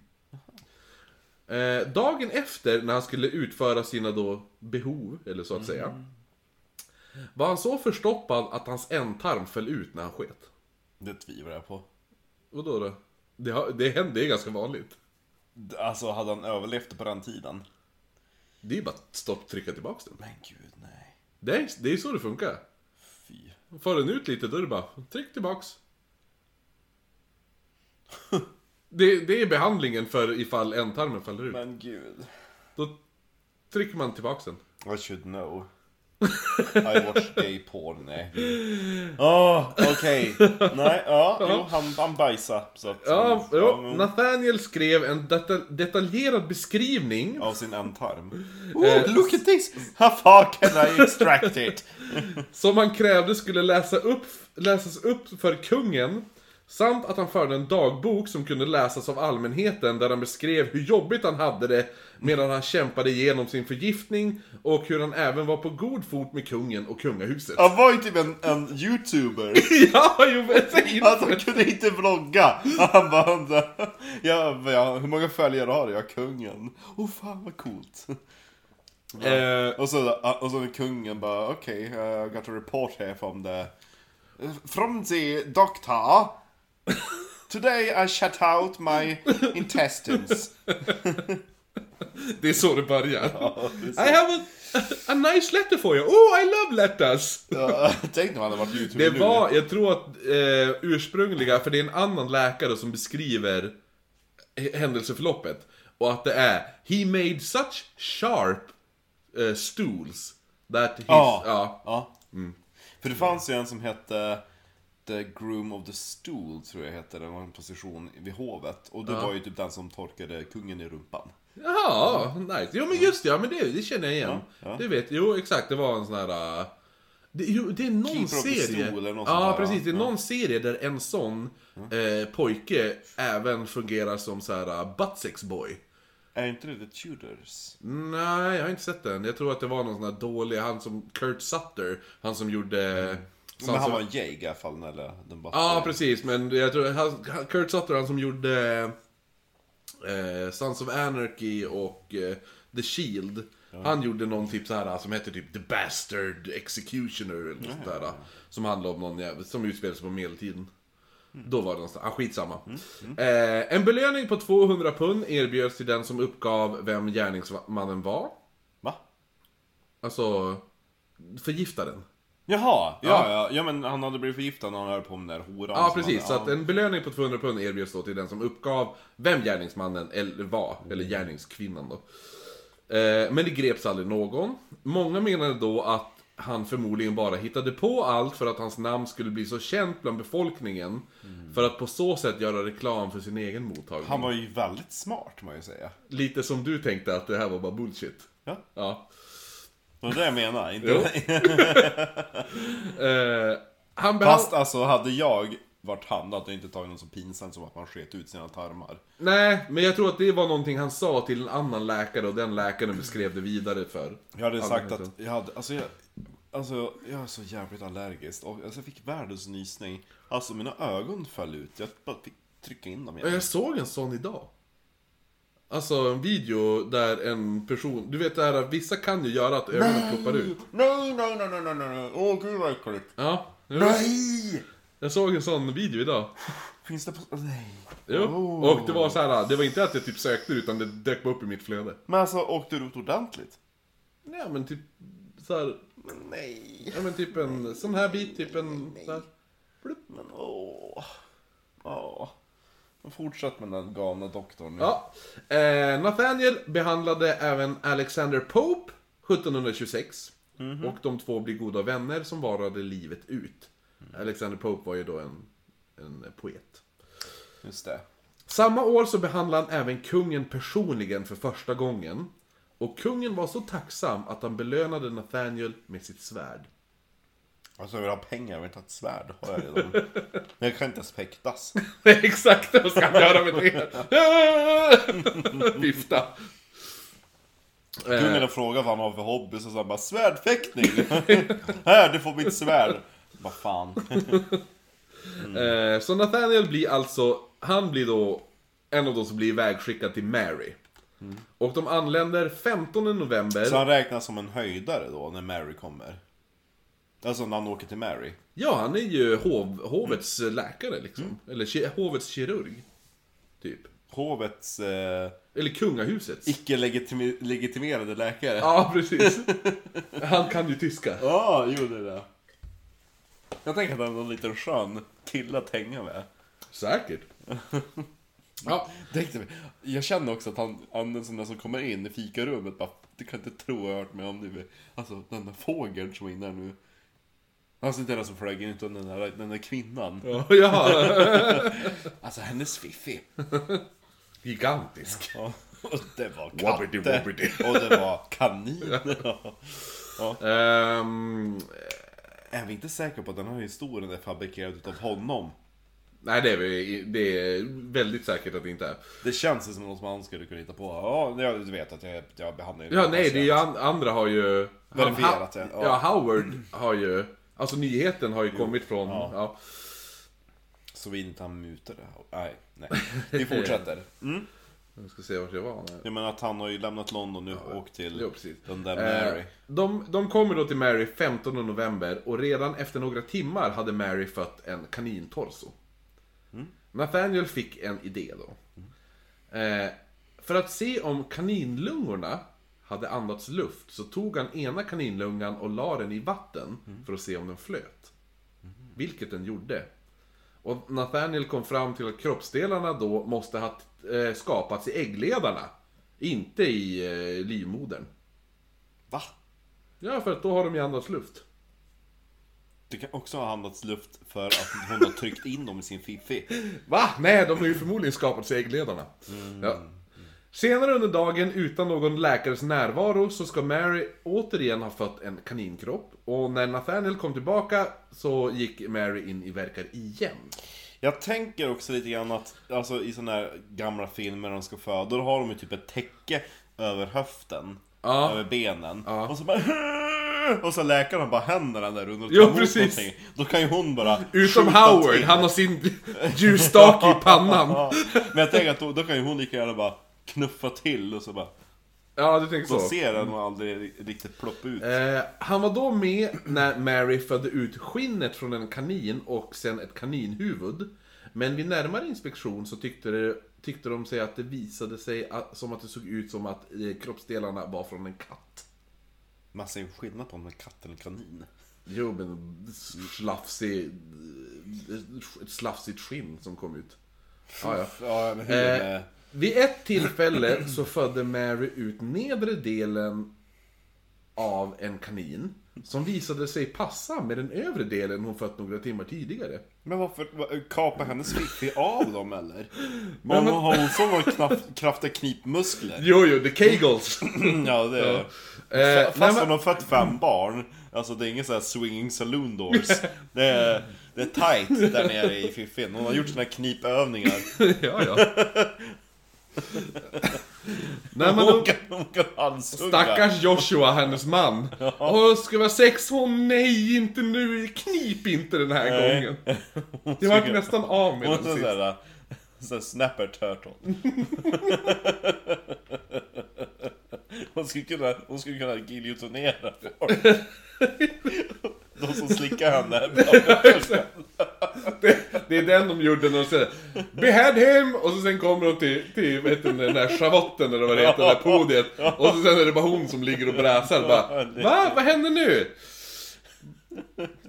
Speaker 1: Eh, dagen efter, när han skulle utföra sina då behov, eller så att säga, var han så förstoppad att hans ändtarm föll ut när han sket.
Speaker 2: Det tvivlar jag på.
Speaker 1: Vadå då? Det, har, det, händer, det är ganska vanligt.
Speaker 2: Alltså, hade han överlevt på den tiden?
Speaker 1: Det är ju bara att stopp, trycka tillbaks den.
Speaker 2: Men gud, nej.
Speaker 1: Det är, det är så det funkar.
Speaker 2: Fy.
Speaker 1: Får den ut lite, då är det bara tryck tillbaks. <laughs> Det, det är behandlingen för ifall ändtarmen faller ut.
Speaker 2: Men gud.
Speaker 1: Då trycker man tillbaks den.
Speaker 2: I should know. I watch gay porn, nej. Åh, okej. Nej, ja, jo, han, han bajsade. Så att,
Speaker 1: Ja,
Speaker 2: ja,
Speaker 1: jo,
Speaker 2: men-
Speaker 1: Nathaniel skrev en detal- detaljerad beskrivning.
Speaker 2: Av sin ändtarm. Oh, look at this! How far can I extract it?
Speaker 1: Som han krävde skulle läsa upp, läsas upp för kungen. Samt att han förde en dagbok som kunde läsas av allmänheten där han beskrev hur jobbigt han hade det medan han kämpade igenom sin förgiftning och hur han även var på god fot med kungen och kungahuset.
Speaker 2: Han var ju typ en, en youtuber.
Speaker 1: <laughs> Ja, jo men säg inte!
Speaker 2: Alltså han kunde inte vlogga. Han bara undrar. Ja, men ja, hur många följare har du? Jag kungen. Åh oh, fan vad coolt.
Speaker 1: Eh,
Speaker 2: Och så, och så kungen bara okej, okay, I got a report here from the... From the doctor. Today I shut out my intestines.
Speaker 1: det är så det börjar. I have a, a nice letter for you. Oh, I love letters!
Speaker 2: Ja, Eh, Tänk om han hade varit youtuber
Speaker 1: Det
Speaker 2: nu.
Speaker 1: var, jag tror att eh, ursprungliga, för det är en annan läkare som beskriver h- händelseförloppet. Och att det är He made such sharp eh, stools that his...
Speaker 2: Ja.
Speaker 1: Ja.
Speaker 2: Ja.
Speaker 1: Mm.
Speaker 2: För det fanns ju en som hette The Groom of the Stool, tror jag hette. Det var en position vid hovet. Och det var ju typ den som torkade kungen i rumpan.
Speaker 1: Jaha, nice. Jo men just det, ja men det, det känner jag igen.
Speaker 2: Ja, ja.
Speaker 1: Det vet Jo exakt, det var en sån här... äh, Det, jo, det är någon
Speaker 2: Keeper of the
Speaker 1: serie.
Speaker 2: Stool eller något sånt där,
Speaker 1: Ja
Speaker 2: va?
Speaker 1: precis, det är någon serie där en sån eh, pojke även fungerar som så här äh, buttsex boy.
Speaker 2: Är inte det The Tudors?
Speaker 1: Nej, jag har inte sett den. Jag tror att det var någon sån här dålig, han som Kurt Sutter, han som gjorde...
Speaker 2: Mm. Men han
Speaker 1: som-
Speaker 2: var en jäg i alla fall, eller den bara...
Speaker 1: alltså- Ja, precis. Men jag tror han, han- Kurt Sutter, han som gjorde eh, Sons of Anarchy och eh, The Shield. Han gjorde någon typ så här som hette typ The Bastard Executioner eller något sånt där. Som handlade om någon jävel, som utspelade sig på medeltiden. Då var det någonstans, ah, skitsamma. Eh, en belöning på 200 pund erbjöds till den som uppgav vem gärningsmannen var.
Speaker 2: Va?
Speaker 1: Alltså, förgiftaren.
Speaker 2: Jaha, ja, ja, ja men han hade blivit förgiftad när han höll på med den där horan
Speaker 1: Ja,
Speaker 2: som
Speaker 1: precis.
Speaker 2: hade-
Speaker 1: Så att en belöning på 200 pund erbjöds då till den som uppgav vem gärningsmannen eller var,
Speaker 2: Mm.
Speaker 1: eller gärningskvinnan då. Eh, Men det greps aldrig någon. Många menade då att han förmodligen bara hittade på allt för att hans namn skulle bli så känt bland befolkningen. För att på så sätt göra reklam för sin egen mottagning.
Speaker 2: Mm. Han var ju väldigt smart, må jag ju säga.
Speaker 1: Lite som du tänkte att det här var bara bullshit.
Speaker 2: Ja.
Speaker 1: Ja.
Speaker 2: Det var det
Speaker 1: <laughs>
Speaker 2: jag menar. Inte...
Speaker 1: Jo. Eh, Han behöv...
Speaker 2: Fast alltså, hade jag varit han, då hade jag inte tagit något så pinsamt som att man sket ut sina tarmar.
Speaker 1: Nej, men jag tror att det var någonting han sa till en annan läkare och den läkaren beskrev det vidare för.
Speaker 2: Jag hade sagt
Speaker 1: Allmänheten.
Speaker 2: att jag hade, alltså jag, alltså jag är så jävligt allergisk och alltså jag fick världens nysning. Alltså mina ögon föll ut, jag bara fick trycka in dem
Speaker 1: Ja,
Speaker 2: igen.
Speaker 1: Jag såg en sån idag. Alltså en video där en person, du vet det här, vissa kan ju göra att ögonen ploppar ut.
Speaker 2: Nej, nej, nej, nej, nej, nej, nej, åh gud vad äckligt.
Speaker 1: Ja, jo.
Speaker 2: Nej!
Speaker 1: jag såg en sån video idag.
Speaker 2: Finns det på, alltså, nej.
Speaker 1: Jo.
Speaker 2: Oh.
Speaker 1: Och det var så här, det var inte att jag typ sökte utan det dök bara upp i mitt flöde.
Speaker 2: Men alltså åkte du ut ordentligt?
Speaker 1: Ja men typ så här,
Speaker 2: Men nej.
Speaker 1: Ja men typ en sån här bit, typ en... Där.
Speaker 2: Men åh. Åh. Men Fortsätt med den galna doktorn. nu.
Speaker 1: Ja. Eh, Nathaniel behandlade även Alexander Pope 1726. Och de två blir goda vänner som varade livet ut. Alexander Pope var ju då en, en poet.
Speaker 2: Just det.
Speaker 1: Samma år så behandlade han även kungen personligen för första gången. Och kungen var så tacksam att han belönade Nathaniel med sitt svärd. <laughs>
Speaker 2: Alltså jag vill ha pengar, jag vill inte ha ett svärd. Har jag redan. Men jag kan inte ens fäktas.
Speaker 1: Exakt, vad ska han göra med det? Vifta.
Speaker 2: Kungen har frågat vad han har för hobby, så sa han bara svärdfäktning! <laughs> här, du får mitt svärd! Vad fan.
Speaker 1: Eh, Så Nathaniel blir alltså, han blir då en av de som blir ivägskickad till Mary. Och de anländer 15 november.
Speaker 2: Så han räknas som en höjdare då, när Mary kommer? Alltså när han åker till Mary?
Speaker 1: Ja, han är ju hov, hovets läkare liksom. Eller ki- hovets kirurg. Typ.
Speaker 2: Hovets eh,
Speaker 1: Eller kungahusets.
Speaker 2: icke-legitimerade
Speaker 1: <laughs>
Speaker 2: läkare?
Speaker 1: Ja, precis. Han kan ju tyska.
Speaker 2: Ja, jo det är det. Jag tänker att han är en liten skön kille att hänga med.
Speaker 1: Säkert. Ja, <laughs>
Speaker 2: Tänkte mig. Jag känner också att han, han är en sån där som kommer in i fikarummet bara Du kan inte tro jag har hört med om nu. Alltså den där fågeln som var inne här nu. Alltså inte den som flög in utan den där, den där kvinnan.
Speaker 1: ja, ja.
Speaker 2: Alltså hennes fiffi.
Speaker 1: Gigantisk.
Speaker 2: Ja, Och det var
Speaker 1: Wobbity
Speaker 2: katter.
Speaker 1: wobbity.
Speaker 2: Och det var kaniner.
Speaker 1: Ehm,
Speaker 2: Är vi inte säkra på att den här historien är fabrikerad utav honom?
Speaker 1: nej, det är, vi- det är väldigt säkert att det inte är.
Speaker 2: Det känns ju som något som han skulle kunna hitta på. Ja, jag vet att jag, jag behandlar
Speaker 1: Ja, nej, det är ju an- andra har ju...
Speaker 2: Verifierat
Speaker 1: han,
Speaker 2: det,
Speaker 1: ja.
Speaker 2: ja.
Speaker 1: Howard har ju... Alltså nyheten har ju kommit från... Ja.
Speaker 2: ja. Så vi inte han mutar det. här. Nej, nej. Vi fortsätter. Mm.
Speaker 1: Jag ska se vart jag var. här.
Speaker 2: Jag menar att han har ju lämnat London nu och åkt till
Speaker 1: Jo, precis.
Speaker 2: den där Mary.
Speaker 1: Eh, de, de kommer då till Mary 15 november och redan efter några timmar hade Mary fött en kanintorso.
Speaker 2: Mm.
Speaker 1: Nathaniel fick en idé då. Eh, för att se om kaninlungorna hade andats luft så tog han ena kaninlungan och la den i vatten
Speaker 2: Mm.
Speaker 1: för att se om den flöt. Vilket den gjorde. Och Nathaniel kom fram till att kroppsdelarna då måste ha eh, skapats i äggledarna. Inte i eh, livmodern.
Speaker 2: Va?
Speaker 1: Ja, för att då har de ju andats luft.
Speaker 2: Det kan också ha handlats luft för att hon har tryckt in dem i sin fiffi.
Speaker 1: Va? Nej, de har ju förmodligen skapat sig äggledarna.
Speaker 2: Mm.
Speaker 1: Ja. Senare under dagen, utan någon läkares närvaro, så ska Mary återigen ha fött en kaninkropp. Och när Nathaniel kom tillbaka så gick Mary in i verkar igen.
Speaker 2: Jag tänker också lite grann att alltså, i sådana här gamla filmer när de ska föda, då har de ju typ ett täcke över höften.
Speaker 1: Ja.
Speaker 2: Över benen.
Speaker 1: Ja.
Speaker 2: Och så bara <laughs> Och så läkarna bara händerna där under och
Speaker 1: Jo,
Speaker 2: tar emot
Speaker 1: precis.
Speaker 2: någonting. Då kan ju hon bara
Speaker 1: Utom
Speaker 2: skjuta
Speaker 1: Howard,
Speaker 2: till.
Speaker 1: han har sin ljusstake i pannan.
Speaker 2: <laughs> Ja, Men jag tänker att då, då kan ju hon lika gärna bara knuffa till och så bara
Speaker 1: Ja, du tänker
Speaker 2: Då
Speaker 1: så.
Speaker 2: ser den och aldrig riktigt ploppa ut.
Speaker 1: Mm. Eh, han var då med när Mary födde ut skinnet från en kanin och sen ett kaninhuvud. Men vid närmare inspektion så tyckte, det, tyckte de sig att det visade sig att, som att det såg ut som att eh, kroppsdelarna var från en katt.
Speaker 2: Man ser ju skillnad på om en katt eller en kanin.
Speaker 1: Jo, men slafsig, ett slafsigt skinn som kom ut. Ja, ja.
Speaker 2: Ja, men hur
Speaker 1: Eh,
Speaker 2: med...
Speaker 1: Vid ett tillfälle så födde Mary ut nedre delen av en kanin som visade sig passa med den övre delen hon fött några timmar tidigare.
Speaker 2: Men varför vad- kapar hennes fiffi av
Speaker 1: <laughs>
Speaker 2: dem eller? Om hon har hon sådana knapp- kraftiga knipmuskler? Mm,
Speaker 1: Jo, jo, the <laughs> Kegels!
Speaker 2: Ja, det är...
Speaker 1: Eh,
Speaker 2: Fast
Speaker 1: nej,
Speaker 2: hon
Speaker 1: men,
Speaker 2: har fött fem barn, alltså det är ingen sån här swinging
Speaker 1: <laughs>
Speaker 2: saloon doors. Det är, det är tight där nere i fiffin. Hon har gjort såna här knipövningar.
Speaker 1: <laughs> ja, ja. nej, men
Speaker 2: Hon
Speaker 1: då,
Speaker 2: kan, hon kan halshugga.
Speaker 1: stackars Joshua, hennes man. Åh, ska vi ha sex? Åh nej, inte nu! Knip inte den här
Speaker 2: Nej. <laughs>
Speaker 1: gången! Jag vart nästan av med
Speaker 2: Hon
Speaker 1: den
Speaker 2: är sån
Speaker 1: sist.
Speaker 2: där, sån där äh, snapper turtle. <laughs> Hon skulle kunna, hon skulle kunna giljotinera folk. De som slickar henne.
Speaker 1: Det, det är den de gjorde när de säger Behead him! Och så sen kommer de till, till vet du, den där schavotten eller vad det heter, det där podiet. Och så sen är det bara hon som ligger och bräsar bara Va? Vad händer nu?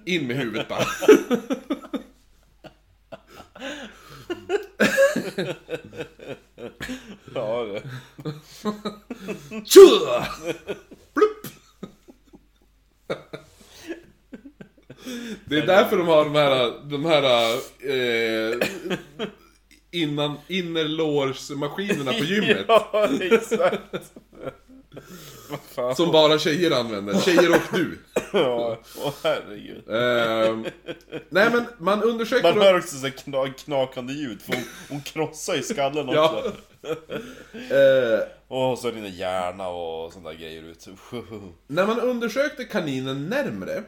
Speaker 1: In med huvudet bara.
Speaker 2: Ja, det.
Speaker 1: Tja! Plupp! Det är därför de har de här, de här eh, innan, innerlårsmaskinerna på gymmet.
Speaker 2: Ja, exakt. Vad fan.
Speaker 1: Som bara tjejer använder. Tjejer och du.
Speaker 2: Ja, åh herregud.
Speaker 1: Ehm, nej men man undersöker...
Speaker 2: Man hör också så här kna- knakande ljud, för hon, hon krossar ju skallen också.
Speaker 1: ja. Eh,
Speaker 2: Åh, så rinner hjärna och sådana där grejer ut.
Speaker 1: när man undersökte kaninen närmre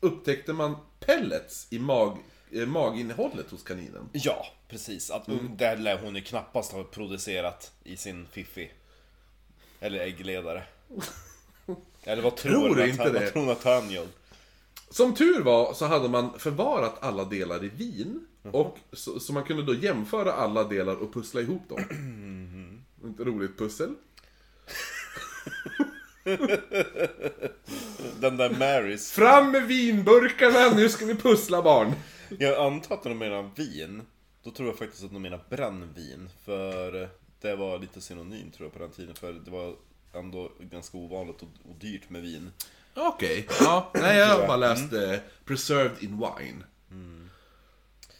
Speaker 1: upptäckte man pellets i mag, eh, maginnehållet hos kaninen.
Speaker 2: Ja, precis. Att
Speaker 1: Mm.
Speaker 2: Det lär hon ju knappast ha producerat i sin fiffi. Eller
Speaker 1: <laughs>
Speaker 2: äggledare. Eller vad tror,
Speaker 1: Tror du
Speaker 2: Natan-
Speaker 1: inte det?
Speaker 2: Vad tror Nathaniel?
Speaker 1: Som tur var så hade man förvarat alla delar i vin. Och så, så man kunde då jämföra alla delar och pussla ihop dem. Ett roligt pussel.
Speaker 2: Den där Marys.
Speaker 1: Fram med vinburkarna, nu ska vi pussla barn!
Speaker 2: Jag antar att de menar vin. Då tror jag faktiskt att de menar brännvin. För eh, det var lite synonym tror jag på den tiden. För det var ändå ganska ovanligt och, och dyrt med vin.
Speaker 1: Okej, ja. Nej, jag har bara läst eh, Preserved in Wine.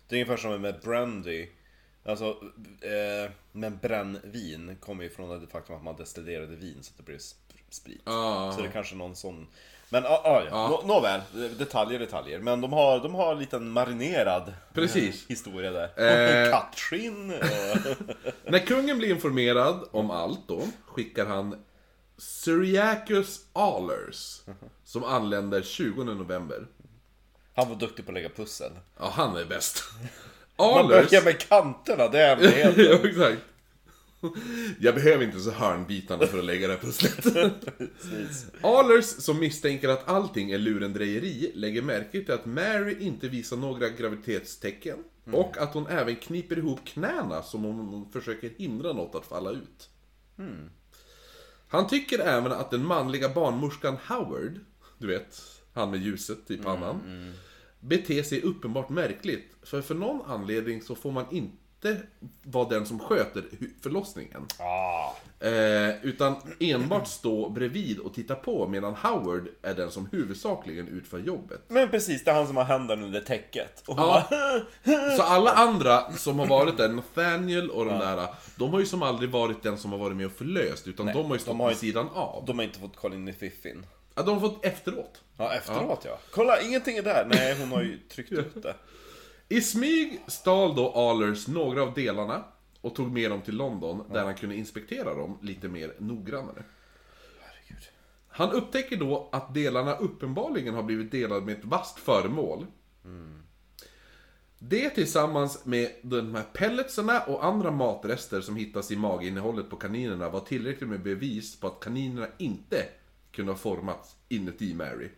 Speaker 2: Det är ungefär som med brandy. Alltså, eh, men brännvin kommer ju från det faktum att man destillerade vin så att det blev sp- sprit.
Speaker 1: Ja.
Speaker 2: Så det är kanske någon sån... Men ah, ah, ja. Nå, nåväl, detaljer, detaljer. Men de har, de har en liten marinerad
Speaker 1: Precis.
Speaker 2: eh, historia där.
Speaker 1: Eh.
Speaker 2: Katrin eh, och...
Speaker 1: När kungen blir informerad om allt då, skickar han Syriacus Alers, som anländer 20 november.
Speaker 2: Han var duktig på att lägga pussel.
Speaker 1: Ja, han är bäst.
Speaker 2: Man
Speaker 1: Alers...
Speaker 2: börjar med kanterna, det
Speaker 1: <laughs>
Speaker 2: är hemligheten.
Speaker 1: ja, exakt. Jag behöver inte så hörnbitarna för att lägga det här pusslet.
Speaker 2: Precis.
Speaker 1: Alers, som misstänker att allting är lurendrejeri, lägger märke till att Mary inte visar några graviditetstecken. Och att hon även kniper ihop knäna som om hon försöker hindra något att falla ut. Han tycker även att den manliga barnmorskan Howard, du vet, han med ljuset typ i pannan, beter sig uppenbart märkligt. För för någon anledning så får man inte vara den som sköter hu- förlossningen.
Speaker 2: Ah,
Speaker 1: Eh, utan enbart stå bredvid och titta på medan Howard är den som huvudsakligen utför jobbet.
Speaker 2: men precis, det är han som har händerna under täcket. Och
Speaker 1: Ja.
Speaker 2: bara, <laughs>
Speaker 1: Så alla andra som har varit där, Nathaniel och de där, de har ju som aldrig varit den som har varit med och förlöst, utan de har ju stått
Speaker 2: de har
Speaker 1: vid
Speaker 2: ju-
Speaker 1: sidan av.
Speaker 2: de har inte fått kolla in i fiffin.
Speaker 1: Ja, de har fått efteråt.
Speaker 2: Ja, efteråt ja. Kolla, ingenting är där. Nej, hon har ju tryckt ut det.
Speaker 1: I smyg stal då Alers några av delarna och tog med dem till London, där han kunde inspektera dem lite mer noggrannare.
Speaker 2: Herregud.
Speaker 1: Han upptäcker då att delarna uppenbarligen har blivit delade med ett vasst föremål. Det tillsammans med de här pelletsarna och andra matrester som hittas i maginnehållet på kaninerna var tillräckligt med bevis på att kaninerna inte kunde ha formats inuti Mary.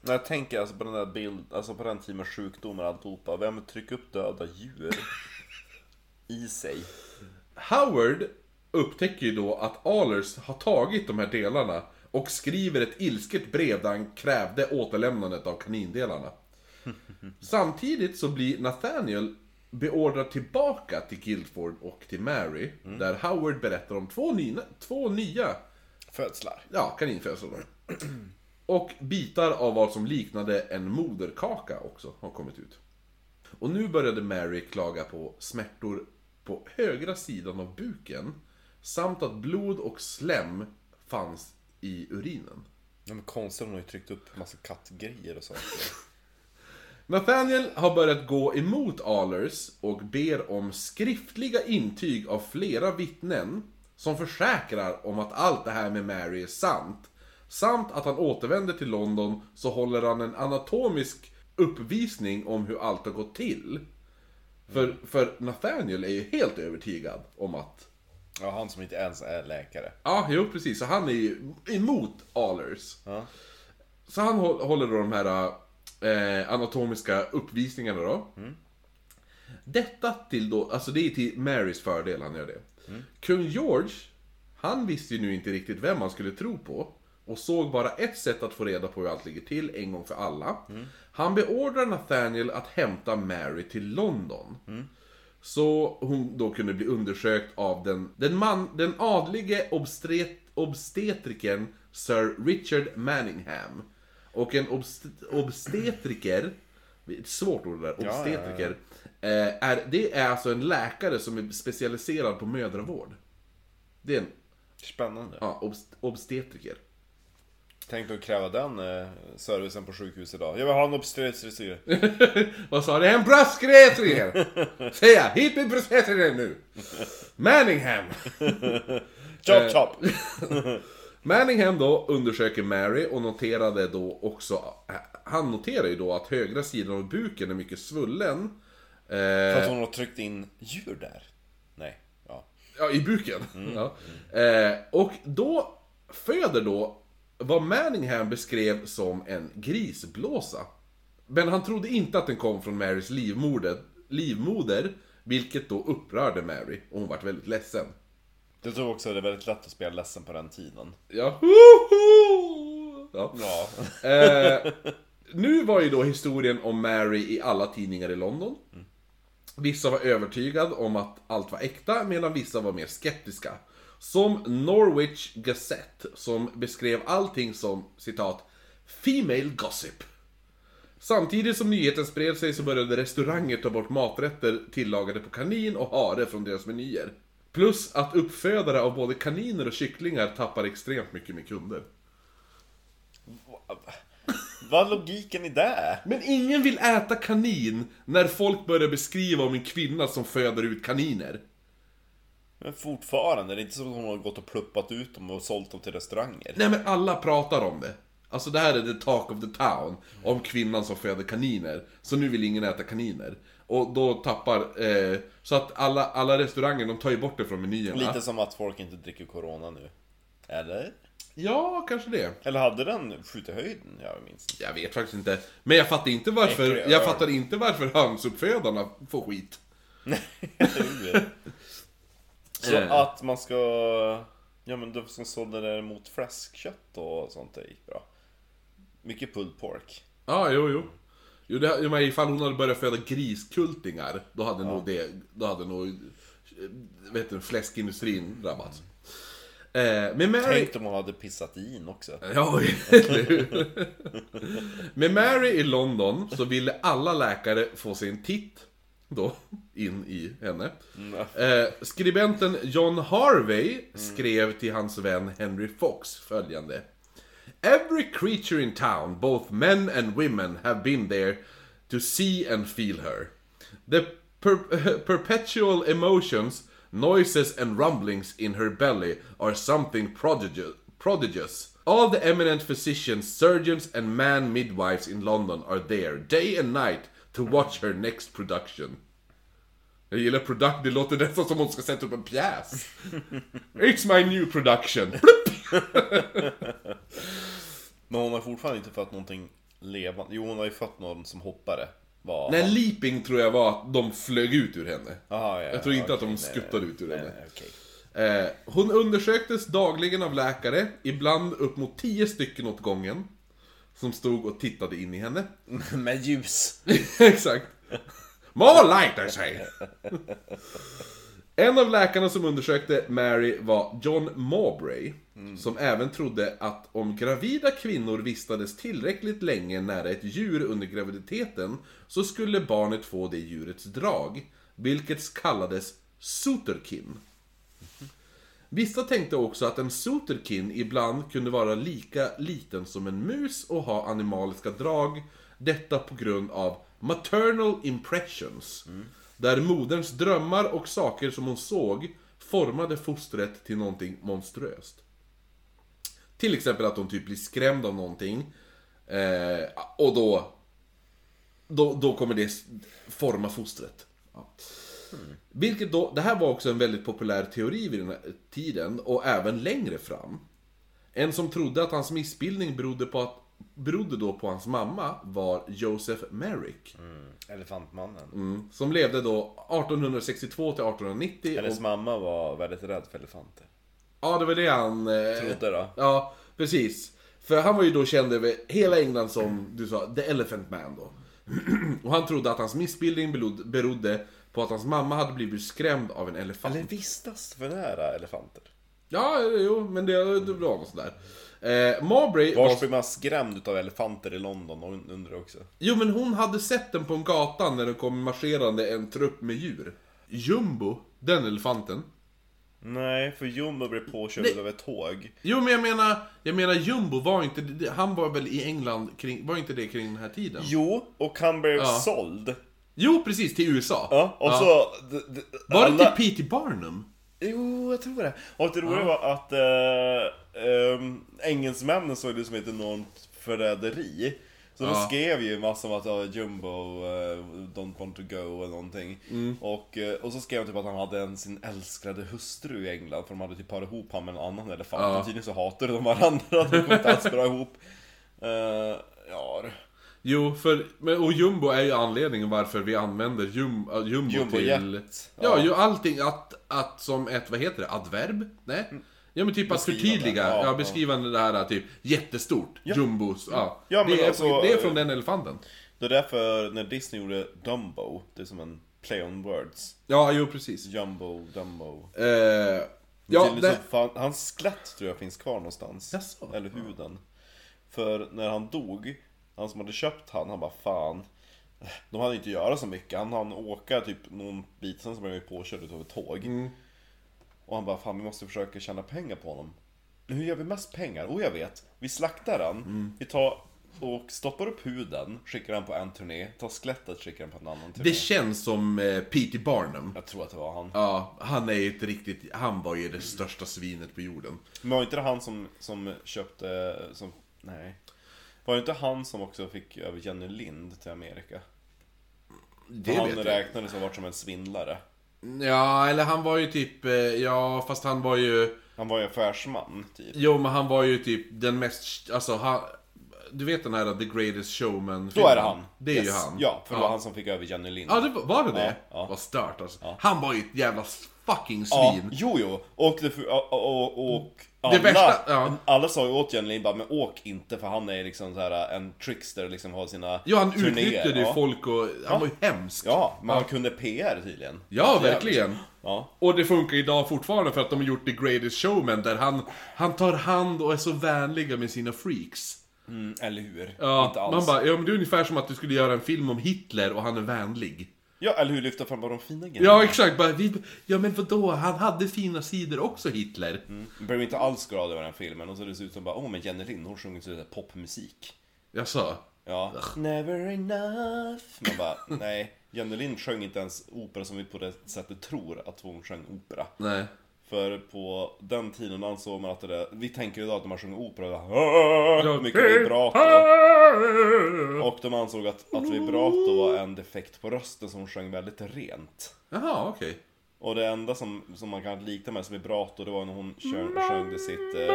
Speaker 2: När jag tänker alltså på den där bild, alltså på den tiden med sjukdomar och alltihopa. Vem trycker upp döda djur? I sig.
Speaker 1: Howard upptäcker ju då att Alers har tagit de här delarna och skriver ett ilsket brev där han krävde återlämnandet av kanindelarna. Samtidigt så blir Nathaniel beordrad tillbaka till Guildford och till Mary, där Howard berättar om två nya, två nya
Speaker 2: Födslar.
Speaker 1: ja, kaninfödslar. Och bitar av vad som liknade en moderkaka också har kommit ut. Och nu började Mary klaga på smärtor på högra sidan av buken samt att blod och slem fanns i urinen.
Speaker 2: Ja, men konstigt, hon har ju tryckt upp massa kattgrejer och sånt.
Speaker 1: Nathaniel har börjat gå emot Alers och ber om skriftliga intyg av flera vittnen som försäkrar om att allt det här med Mary är sant. Samt att han återvänder till London så håller han en anatomisk uppvisning om hur allt har gått till. För, för Nathaniel är ju helt övertygad om att...
Speaker 2: Ja, han som inte ens är läkare.
Speaker 1: Ja, jo precis. Så han är ju emot Alers.
Speaker 2: Ja.
Speaker 1: Så han hå- håller då de här eh, anatomiska uppvisningarna då. Detta till då, alltså det är till Marys fördel han gör det. Kung George, han visste ju nu inte riktigt vem han skulle tro på. och såg bara ett sätt att få reda på hur allt ligger till en gång för alla. Han beordrar Nathaniel att hämta Mary till London. Så hon då kunde bli undersökt av den, den, man, den adlige obstret, obstetrikern Sir Richard Manningham. Och en obst, obstetriker, ett svårt ord det där,
Speaker 2: ja, ja.
Speaker 1: obstetriker, eh, Är, det är alltså en läkare som är specialiserad på mödravård. Det är en
Speaker 2: Spännande.
Speaker 1: ja, obst, obstetriker.
Speaker 2: Tänk att kräva den eh, servicen på sjukhus idag. Jag vill ha en obstetriker.
Speaker 1: Vad sa du? En
Speaker 2: <laughs>
Speaker 1: bröstgrätriker! Säga, hit med bröstgrätriker nu! Manningham!
Speaker 2: Chop chop!
Speaker 1: Manningham då undersöker Mary och noterade då också... eh, Han noterar ju då att högra sidan av buken är mycket svullen.
Speaker 2: För att hon har tryckt in djur där. Nej, ja.
Speaker 1: Ja, i buken. Ja. Eh, och då föder då vad Manningham beskrev som en grisblåsa. Men han trodde inte att den kom från Marys livmoder, livmoder vilket då upprörde Mary och hon vart väldigt ledsen.
Speaker 2: Jag tror också att det är väldigt lätt att spela ledsen på den tiden.
Speaker 1: Ja. Hoho! ja.
Speaker 2: Ja.
Speaker 1: Eh, nu var ju då historien om Mary i alla tidningar i London. Vissa var övertygade om att allt var äkta, medan vissa var mer skeptiska. Som Norwich Gazette, som beskrev allting som citat ”Female gossip”. Samtidigt som nyheten spred sig så började restauranger ta bort maträtter tillagade på kanin och hare från deras menyer. Plus att uppfödare av både kaniner och kycklingar tappar extremt mycket med kunder.
Speaker 2: Vad är logiken i det?
Speaker 1: Men ingen vill äta kanin när folk börjar beskriva om en kvinna som föder ut kaniner.
Speaker 2: Men fortfarande, det är inte som att hon har gått och pluppat ut dem och sålt dem till restauranger.
Speaker 1: Nej men alla pratar om det. Alltså det här är the talk of the town. Om kvinnan som föder kaniner. Så nu vill ingen äta kaniner. Och då tappar... Eh, så att alla, alla restauranger, de tar ju bort det från menyerna.
Speaker 2: Lite som att folk inte dricker Corona nu. Eller?
Speaker 1: Ja, kanske det.
Speaker 2: Eller hade den skjutit höjden? Jag minns inte.
Speaker 1: Jag vet faktiskt inte. Men jag fattar inte varför,
Speaker 2: Äcklig
Speaker 1: jag
Speaker 2: öl.
Speaker 1: fattar inte varför hönsuppfödarna får skit. <laughs>
Speaker 2: Så
Speaker 1: Eh.
Speaker 2: att man ska... Ja men de som sålde det där mot fläskkött och sånt, det gick bra. Mycket pulled pork.
Speaker 1: Ja, jo, jo. Jo, det, jo, men ifall hon hade börjat föda griskultingar, då hade nog det, då hade nog, eh, vet du, fläskindustrin drabbats. Eh, men Mary...
Speaker 2: Tänk om hon hade pissat i in också.
Speaker 1: Ja, <laughs> eller hur? Med Mary i London så ville alla läkare få sig en titt då, in i henne. Eh, skribenten John Harvey skrev till hans vän Henry Fox följande. Every creature in town, both men and women, have been there to see and feel her. The per- <laughs> perpetual emotions, noises and rumblings in her belly are something prodigious. prodigious. All the eminent physicians, surgeons and man midwives in London are there, day and night, to watch her next production. Jag gillar product, det låter nästan som om hon ska sätta upp en pjäs. It's my new production.
Speaker 2: Men hon har fortfarande inte fått någonting levande. Jo, hon har ju fått någon som hoppade. Var...
Speaker 1: Nej, leaping tror jag var att de flög ut ur henne.
Speaker 2: Aha, ja,
Speaker 1: Jag tror inte
Speaker 2: okej,
Speaker 1: att de
Speaker 2: nej,
Speaker 1: skuttade ut ur
Speaker 2: nej,
Speaker 1: henne.
Speaker 2: nej, okej. <laughs>
Speaker 1: Eh, hon undersöktes dagligen av läkare, ibland upp mot tio stycken åt gången. Som stod och tittade in i henne.
Speaker 2: Med ljus.
Speaker 1: <laughs> Exakt. More light I say! En av läkarna som undersökte Mary var John Mowbray. Som även trodde att om gravida kvinnor vistades tillräckligt länge nära ett djur under graviditeten så skulle barnet få det djurets drag. Vilket kallades soterkin. Vissa tänkte också att en soterkin ibland kunde vara lika liten som en mus och ha animaliska drag. Detta på grund av maternal impressions. Där moderns drömmar och saker som hon såg formade fostret till någonting monstruöst. Till exempel att hon typ blir skrämd av någonting. Eh, och då, då... Då kommer det s- forma fostret. Ja. Vilket då, det här var också en väldigt populär teori vid den här tiden och även längre fram. En som trodde att hans missbildning berodde, på att, berodde då på hans mamma var Joseph Merrick.
Speaker 2: Mm. Elefantmannen.
Speaker 1: Mm. Som levde då 1862 till 1890. Och,
Speaker 2: Hennes mamma var väldigt rädd för elefanter.
Speaker 1: ja, det var det han... eh,
Speaker 2: Trodde då.
Speaker 1: Ja, precis. För han var ju då känd över hela England som, du sa, The Elephant Man då. <clears throat> Och han trodde att hans missbildning belod- berodde på att hans mamma hade blivit skrämd av en elefant.
Speaker 2: Eller vistas för nära elefanter.
Speaker 1: Ja, jo, men det, det var något sånt där. Eh, Marbury var
Speaker 2: Vars blir man skrämd utav elefanter i London och und- undrar också.
Speaker 1: Jo men hon hade sett den på en gatan när det kom marscherande en trupp med djur. Jumbo, den elefanten.
Speaker 2: Nej, för Jumbo blev påkörd av ett tåg.
Speaker 1: Jo men jag menar, jag menar Jumbo var inte, han var väl i England kring, var inte det kring den här tiden?
Speaker 2: Jo, och han blev
Speaker 1: Ja.
Speaker 2: såld.
Speaker 1: Jo precis, till USA.
Speaker 2: Ja, och så... d- d-
Speaker 1: Var
Speaker 2: alla-
Speaker 1: det till P.T. Barnum?
Speaker 2: Jo, jag tror det. Och det roliga var att eh, ehm, engelsmännen såg det som ett enormt förräderi. Så
Speaker 1: Ja.
Speaker 2: de skrev ju massor om att ja, Jumbo eh, don't want to go eller någonting.
Speaker 1: Mm.
Speaker 2: Och, eh, och så skrev de typ att han hade en, sin älskade hustru i England för de hade typ parat ihop honom med en annan elefant.
Speaker 1: Ja.
Speaker 2: Och tydligen så hatade de varandra, de kom inte alls bra ihop. Eh, ja, du.
Speaker 1: Jo, för, men, och Jumbo är ju anledningen varför vi använder jum, äh, Jumbo,
Speaker 2: Jumbo
Speaker 1: till...
Speaker 2: jet.
Speaker 1: Ja,
Speaker 2: Ja.
Speaker 1: ju allting att, att som ett, vad heter det, adverb? Nej? Ja men typ att
Speaker 2: Beskrivande.
Speaker 1: förtydliga,
Speaker 2: Mm. Ja,
Speaker 1: ja,
Speaker 2: ja.
Speaker 1: beskrivande det här typ jättestort, jumbos, ja.
Speaker 2: Ja, men
Speaker 1: det, är,
Speaker 2: alltså,
Speaker 1: det är från den elefanten.
Speaker 2: det är därför när Disney gjorde Dumbo, det är som en play on words.
Speaker 1: Ja, jo precis.
Speaker 2: Jumbo, Dumbo.
Speaker 1: Eh,
Speaker 2: Ja,
Speaker 1: ja, det,
Speaker 2: liksom fan, hans skelett tror jag finns kvar någonstans.
Speaker 1: Jaså?
Speaker 2: Eller huden. För när han dog, han som hade köpt han, han bara fan. De hade inte göra så mycket. Han hann åka typ någon bit, sen så blev han ju påkörd utav ett tåg.
Speaker 1: Mm.
Speaker 2: Och han bara fan vi måste försöka tjäna pengar på honom. Men Hur gör vi mest pengar? Oh jag vet. Vi slaktar han.
Speaker 1: Mm.
Speaker 2: Vi tar och stoppar upp huden, skickar han på en turné. Tar skelettet, skickar han på en annan turné.
Speaker 1: det känns som eh, P.T. Barnum.
Speaker 2: Jag tror att det var han.
Speaker 1: Ja, han är ju ett riktigt, han var ju det största svinet på jorden.
Speaker 2: Men var inte det han som, som köpte, som, nej. Var det inte han som också fick över Jenny Lind till Amerika?
Speaker 1: Det
Speaker 2: han
Speaker 1: vet jag.
Speaker 2: räknades som varit som en svindlare.
Speaker 1: Ja, eller han var ju typ, eh, ja fast han var ju...
Speaker 2: Han var ju affärsman, typ.
Speaker 1: Jo, men han var ju typ den mest, alltså han... Du vet den här The Greatest Showman
Speaker 2: Då är det han.
Speaker 1: Det är ju
Speaker 2: Yes.
Speaker 1: han.
Speaker 2: Ja, för det
Speaker 1: ja.
Speaker 2: var han som fick över Jenny Lind.
Speaker 1: Ja, det var, var det det?
Speaker 2: Ja, ja.
Speaker 1: Vad stört alltså. Han var ju ett jävla fucking
Speaker 2: Ja,
Speaker 1: svin.
Speaker 2: jo, jo. Och, det, och, och, och alla,
Speaker 1: Det värsta- ja.
Speaker 2: alla sa ju åt Jenny Lind bara, men åk inte för han är liksom så här en trickster liksom har sina
Speaker 1: Jo, han
Speaker 2: turnéer.
Speaker 1: utnyttjade ju
Speaker 2: ja.
Speaker 1: folk och... Han var ju hemsk.
Speaker 2: Ja, men han kunde PR tydligen.
Speaker 1: Ja,
Speaker 2: Jävligt.
Speaker 1: verkligen.
Speaker 2: Ja.
Speaker 1: Och det funkar idag fortfarande för att de har gjort The Greatest Showman där han, han tar hand och är så vänliga med sina freaks.
Speaker 2: Mm, eller hur? inte
Speaker 1: Ja,
Speaker 2: alls.
Speaker 1: man bara, ja men det är ungefär som att du skulle göra en film om Hitler och han är vänlig.
Speaker 2: Ja, eller hur? Lyfta fram bara de fina grejerna.
Speaker 1: Ja, exakt. Bara, vi, ja men vadå, han hade fina sidor också, Hitler.
Speaker 2: Jag blev inte alls glad över den filmen och så dessutom bara, åh men Jenny Lind, hon sjunger sådär popmusik.
Speaker 1: Jag sa.
Speaker 2: Ja. Never enough. Man bara, <laughs> nej. Jenny Lind sjöng inte ens opera som vi på det sättet tror att hon sjöng opera.
Speaker 1: Nej.
Speaker 2: För på den tiden ansåg man att det där, vi tänker idag att när man sjunger opera, bara, mycket vibrato. Och de ansåg att, att vibrato var en defekt på rösten som hon sjöng väldigt rent.
Speaker 1: Jaha, okej.
Speaker 2: Och det enda som, som man kan likna med som vibrato, det var när hon kör, sjöng det sitt... Eh,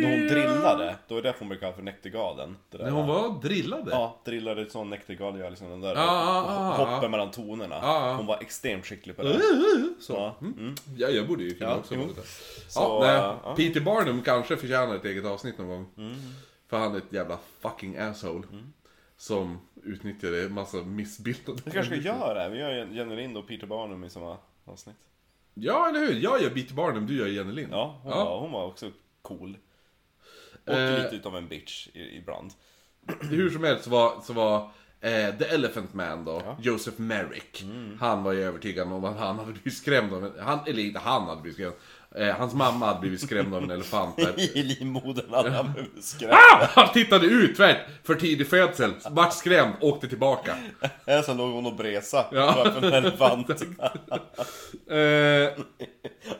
Speaker 2: När hon drillade, då är det därför hon brukar kalla för näktergalen. Det där.
Speaker 1: När hon var drillade?
Speaker 2: Ja, drillade som näktergal gör liksom den där
Speaker 1: ja, ja,
Speaker 2: hoppen mellan tonerna.
Speaker 1: Ja, Mm. ja.
Speaker 2: Hon var extremt skicklig på det.
Speaker 1: Så.
Speaker 2: Ja.
Speaker 1: Ja, jag borde ju kunna
Speaker 2: Ja,
Speaker 1: också.
Speaker 2: jo.
Speaker 1: Ja,
Speaker 2: Så,
Speaker 1: nej.
Speaker 2: äh, ja. Mm.
Speaker 1: Peter Barnum kanske förtjänar ett eget avsnitt någon gång. För han är ett jävla fucking asshole. Som utnyttjade en massa missbildade
Speaker 2: Vi kanske ska göra det, här. vi gör Jenny Lind och Peter Barnum i samma avsnitt.
Speaker 1: Ja, eller hur? Jag gör Peter Barnum, du gör Jenny Lind.
Speaker 2: Ja, hon,
Speaker 1: Ja.
Speaker 2: Var, hon var också cool. Och
Speaker 1: Eh.
Speaker 2: lite utav en bitch i- ibland.
Speaker 1: Hur som helst så var, så var eh, The Elephant Man då, Joseph Merrick. Han var ju övertygad om att han hade blivit skrämd av en... Han, eller inte han hade blivit skrämd. Eh, hans mamma hade blivit skrämd av en elefant. Där.
Speaker 2: <laughs> I livmodern hade han blivit skrämd.
Speaker 1: Ah! Han tittade ut tvärt för tidig födsel, vart skrämd, åkte tillbaka.
Speaker 2: Äh, Sen låg hon och bresa
Speaker 1: Ja.
Speaker 2: framför en elefant.
Speaker 1: Eh,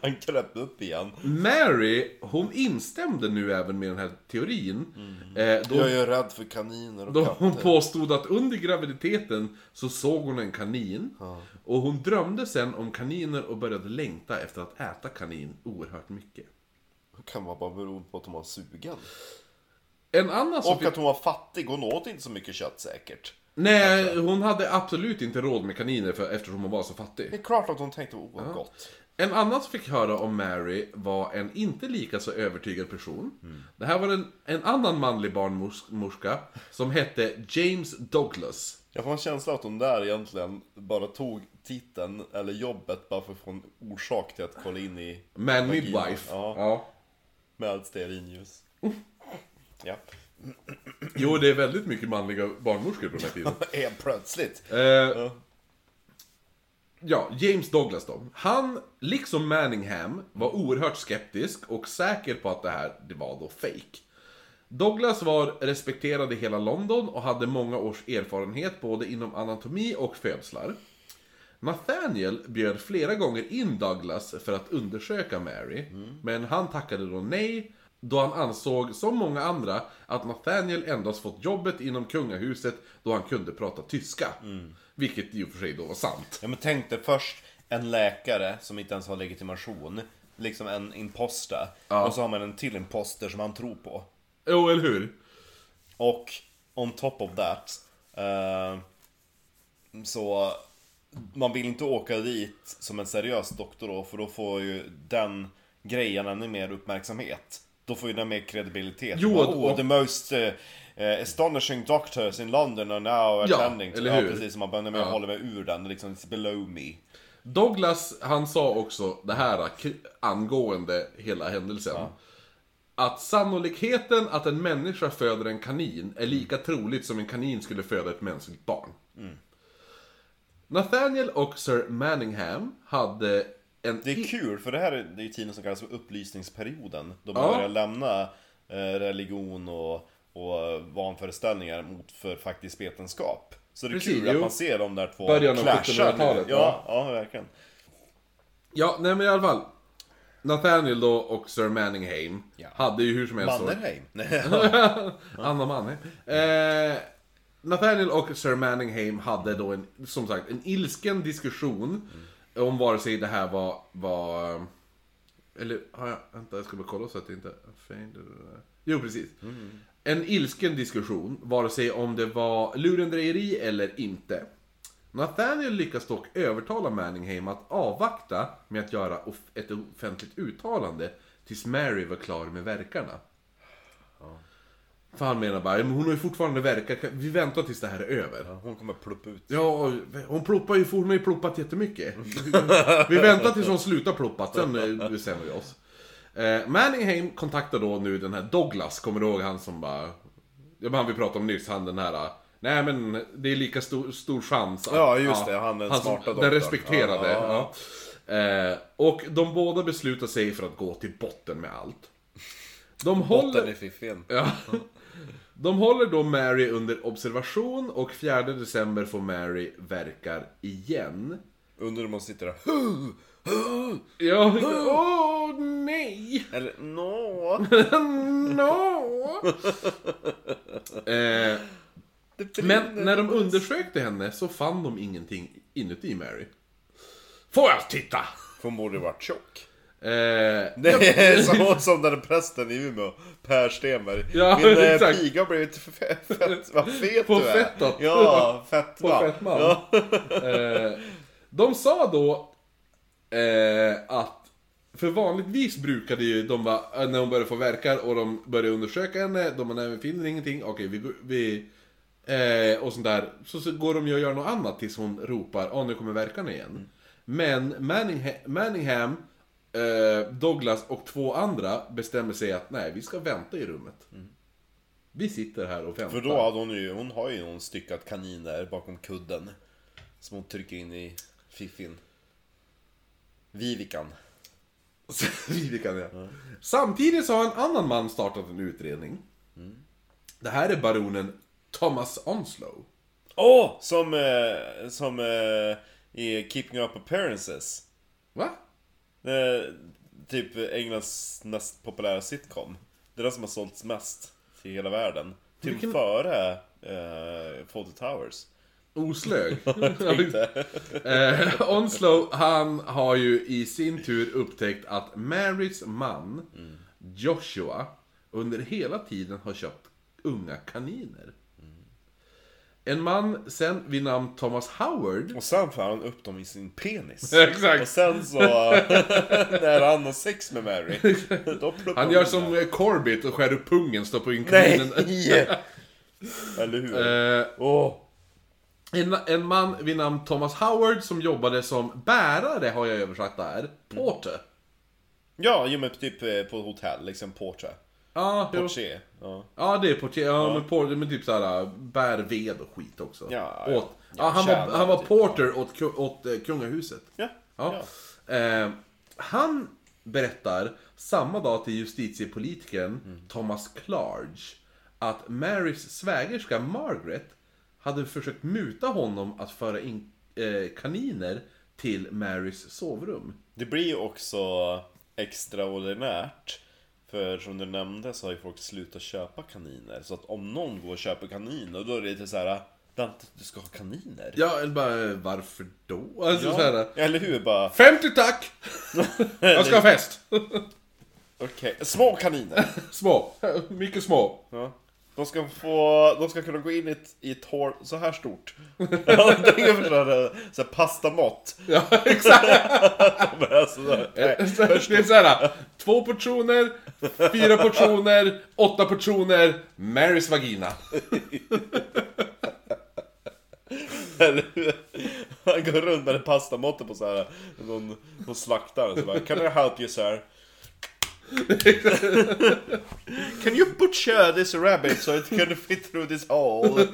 Speaker 2: Han kröp upp igen.
Speaker 1: Mary, hon instämde nu även med den här teorin. Eh, då,
Speaker 2: Jag är rädd för kaniner och
Speaker 1: då
Speaker 2: katter.
Speaker 1: hon påstod att under graviditeten så såg hon en kanin. Och hon drömde sen om kaniner och började längta efter att äta kanin oerhört mycket.
Speaker 2: kan vara bara bero på att hon var sugen.
Speaker 1: En annan som
Speaker 2: Och
Speaker 1: fick...
Speaker 2: Typ att hon var fattig, hon åt inte så mycket kött säkert.
Speaker 1: Nej,
Speaker 2: Alltså.
Speaker 1: hon hade absolut inte råd med kaniner för, eftersom hon var så fattig.
Speaker 2: Det är klart att hon tänkte, åh vad gott.
Speaker 1: En annan som fick höra om Mary var en inte lika så övertygad person.
Speaker 2: Mm.
Speaker 1: Det här var en, en annan manlig barnmorska som hette James Douglas.
Speaker 2: Jag får en känsla att de där egentligen bara tog titeln, eller jobbet, bara för att få en orsak till att kolla in i
Speaker 1: Man Midwife.
Speaker 2: Ja.
Speaker 1: Ja.
Speaker 2: med <laughs> stearinljus. ja.
Speaker 1: Jo, det är väldigt mycket manliga barnmorskor på den här tiden.
Speaker 2: Helt plötsligt.
Speaker 1: Eh, ja, James Douglas då. Han, liksom Manningham, var oerhört skeptisk och säker på att det här det var då fake. Douglas var respekterad i hela London och hade många års erfarenhet både inom anatomi och födslar. Nathaniel bjöd flera gånger in Douglas för att undersöka Mary, men han tackade då nej då han ansåg, som många andra, att Nathaniel endast fått jobbet inom kungahuset då han kunde prata tyska. Vilket i och för sig då var sant.
Speaker 2: Ja men tänk dig först en läkare som inte ens har legitimation. Liksom en imposter. Och så har man en till imposter som han tror på.
Speaker 1: Jo, eller hur?
Speaker 2: Och on top of that eh, Så Man vill inte åka dit som en seriös doktor då för då får ju den grejen ännu mer uppmärksamhet Då får ju den mer kredibilitet
Speaker 1: Jo,
Speaker 2: Bara,
Speaker 1: och-
Speaker 2: "Oh, The most eh, eh, astonishing doctors in London are now
Speaker 1: Ja,
Speaker 2: attending
Speaker 1: eller hur?
Speaker 2: Ja precis, man bara, "Nej, men jag håller mig ur den, liksom it's below me
Speaker 1: Douglas, han sa också det här k- angående hela händelsen. Att sannolikheten att en människa föder en kanin är lika troligt som en kanin skulle föda ett mänskligt barn.
Speaker 2: Mm.
Speaker 1: Nathaniel och Sir Manningham hade en...
Speaker 2: Det är
Speaker 1: i-
Speaker 2: kul, för det här är, det är ju tiden som kallas för upplysningsperioden. Då man
Speaker 1: Ja.
Speaker 2: börjar lämna eh, religion och, och vanföreställningar mot för faktisk vetenskap. Så det är
Speaker 1: Precis,
Speaker 2: kul att
Speaker 1: jo.
Speaker 2: man ser de där två
Speaker 1: Början av
Speaker 2: clasha
Speaker 1: 1700-talet,
Speaker 2: nu. Ja, ja, verkligen.
Speaker 1: Ja, nej men i alla fall. Nathaniel då och Sir Manningham
Speaker 2: Ja.
Speaker 1: hade ju hur som helst...
Speaker 2: Mannerheim.
Speaker 1: Anna Manne. Eh, Nathaniel och Sir Manningham hade då en, som sagt, en ilsken diskussion om vare sig det här var, var eh, eller har jag, vänta jag ska bara kolla så att det inte fainted. Jo precis. En ilsken diskussion, vare sig om det var lurendrejeri eller inte. Nathaniel lyckas dock övertala Manningham att avvakta med att göra off- ett offentligt uttalande tills Mary var klar med verkarna. För han menar bara, "Ja, men hon har ju fortfarande verkar, vi väntar tills det här är över.
Speaker 2: <laughs> Hon kommer pluppa ut.
Speaker 1: Ja, hon ploppar ju, hon har ju ploppat jättemycket. vi väntar tills hon slutar ploppa, sen eh, bestämmer vi oss. Eh, Manningham kontaktar då nu den här Douglas, kommer du ihåg han som bara... Ja, men han vi pratade om nyss, han den här... eh, Nej men det är lika stor, stor chans att...
Speaker 2: Ja, just det, han den smarta
Speaker 1: som- Den
Speaker 2: doktorn.
Speaker 1: respekterade.
Speaker 2: Ja,
Speaker 1: Ja, Eh, och de båda beslutar sig för att gå till botten med allt. De håller...
Speaker 2: Botten i fiffin.
Speaker 1: Ja. De håller då Mary under observation och 4 december får Mary verkar igen.
Speaker 2: Undrar om hon sitter där. <gasps>
Speaker 1: Ja, åh nej! <laughs>
Speaker 2: Eller nå,
Speaker 1: no. eh,
Speaker 2: det
Speaker 1: men
Speaker 2: brinner.
Speaker 1: när de undersökte henne så fann de ingenting inuti Mary. Får jag titta?
Speaker 2: För Hon borde ju varit tjock.
Speaker 1: Eh,
Speaker 2: Det är så som den där prästen i Umeå, Per Stenberg.
Speaker 1: Ja,
Speaker 2: Min eh,
Speaker 1: exakt.
Speaker 2: piga har blivit för fett, fett, vad fet
Speaker 1: På
Speaker 2: du är.
Speaker 1: fettat.
Speaker 2: Ja, fett
Speaker 1: på fettman. <laughs> eh, de sa då eh, att för vanligtvis brukade ju de va, när hon började få verkar och de började undersöka henne, de bara, nej vi finner ingenting, okej vi, går- vi eh, och sånt där. Så, så går de ju och gör något annat tills hon ropar, åh nu kommer verkarna igen.
Speaker 2: Mm.
Speaker 1: Men Manningham, Manningham eh, Douglas och två andra bestämmer sig att nej, vi ska vänta i rummet. Vi sitter här och väntar.
Speaker 2: Mm. För då hade hon ju, hon har ju någon styckad kanin där bakom kudden. Som hon trycker in i fiffin. Vivikan.
Speaker 1: <laughs> Vivikan ja. Samtidigt så har en annan man startat en utredning. Det här är baronen Thomas Onslow.
Speaker 2: Åh! Som, eh, som eh, i Keeping Up Appearances.
Speaker 1: Va?
Speaker 2: Eh, typ Englands näst populära sitcom. Det är den som har sålts mest i hela världen. Till
Speaker 1: Vilken-
Speaker 2: före eh, Fawlty Towers.
Speaker 1: Oslög. <laughs> eh, Onslow, han har ju i sin tur upptäckt att Marys man, Joshua, under hela tiden har köpt unga kaniner. En man sen vid namn Thomas Howard.
Speaker 2: Och sen får han upp dem i sin
Speaker 1: <laughs>
Speaker 2: penis.
Speaker 1: Exakt.
Speaker 2: Och sen så, <laughs> när han har sex med Mary, då ploppar
Speaker 1: Han
Speaker 2: hon
Speaker 1: gör
Speaker 2: in
Speaker 1: som
Speaker 2: där.
Speaker 1: eh, Corbett och skär upp pungen, stoppar in
Speaker 2: Nej!
Speaker 1: kninen.
Speaker 2: <laughs> Eller hur?
Speaker 1: Eh,
Speaker 2: Åh!
Speaker 1: En, en man vid namn Thomas Howard som jobbade som bärare har jag översatt där. Porter.
Speaker 2: Ja, jo men typ eh, på hotell, liksom portra.
Speaker 1: Ja, jo.
Speaker 2: Portier. Ja.
Speaker 1: ja, det är portier. Ja, Men, porter, men typ såhär, bär ved och skit också.
Speaker 2: Ja,
Speaker 1: åt,
Speaker 2: ja.
Speaker 1: ja, han, var,
Speaker 2: tjänare
Speaker 1: han var
Speaker 2: typ.
Speaker 1: porter åt, ku- åt eh, kungahuset.
Speaker 2: Ja.
Speaker 1: Ja.
Speaker 2: ja.
Speaker 1: Eh, han berättar samma dag till justitiepolitikern Thomas Clarge att Marys svägerska Margaret hade försökt muta honom att föra in eh, kaniner till Marys sovrum.
Speaker 2: Det blir ju också extraordinärt. För som du nämnde så har ju folk slutat köpa kaniner. Så att om någon går och köper kaniner, då är det lite så här. Dante, du ska ha kaniner.
Speaker 1: Ja, eller bara eh, varför då? Alltså
Speaker 2: Ja,
Speaker 1: så här,
Speaker 2: Eller hur? Bara,
Speaker 1: 50 tack! <laughs> Jag ska ha fest!
Speaker 2: okej. Små kaniner.
Speaker 1: <laughs> Små, mycket små.
Speaker 2: Ja. De ska få, de ska kunna gå in i ett, i ett hål så
Speaker 1: <laughs>
Speaker 2: här stort. Ja, de kan förstöra så här pastamått.
Speaker 1: Ja, exakt!
Speaker 2: <laughs> De är sådär.
Speaker 1: Det
Speaker 2: Nej,
Speaker 1: är <laughs> så här, två portioner, fyra portioner, åtta portioner, Marys vagina.
Speaker 2: Eller hur? <laughs> Han går runt med en pastamått på så här någon, någon slaktare så bara Can I help you sir? <laughs> Can you butcher this rabbit so it can fit through this hole?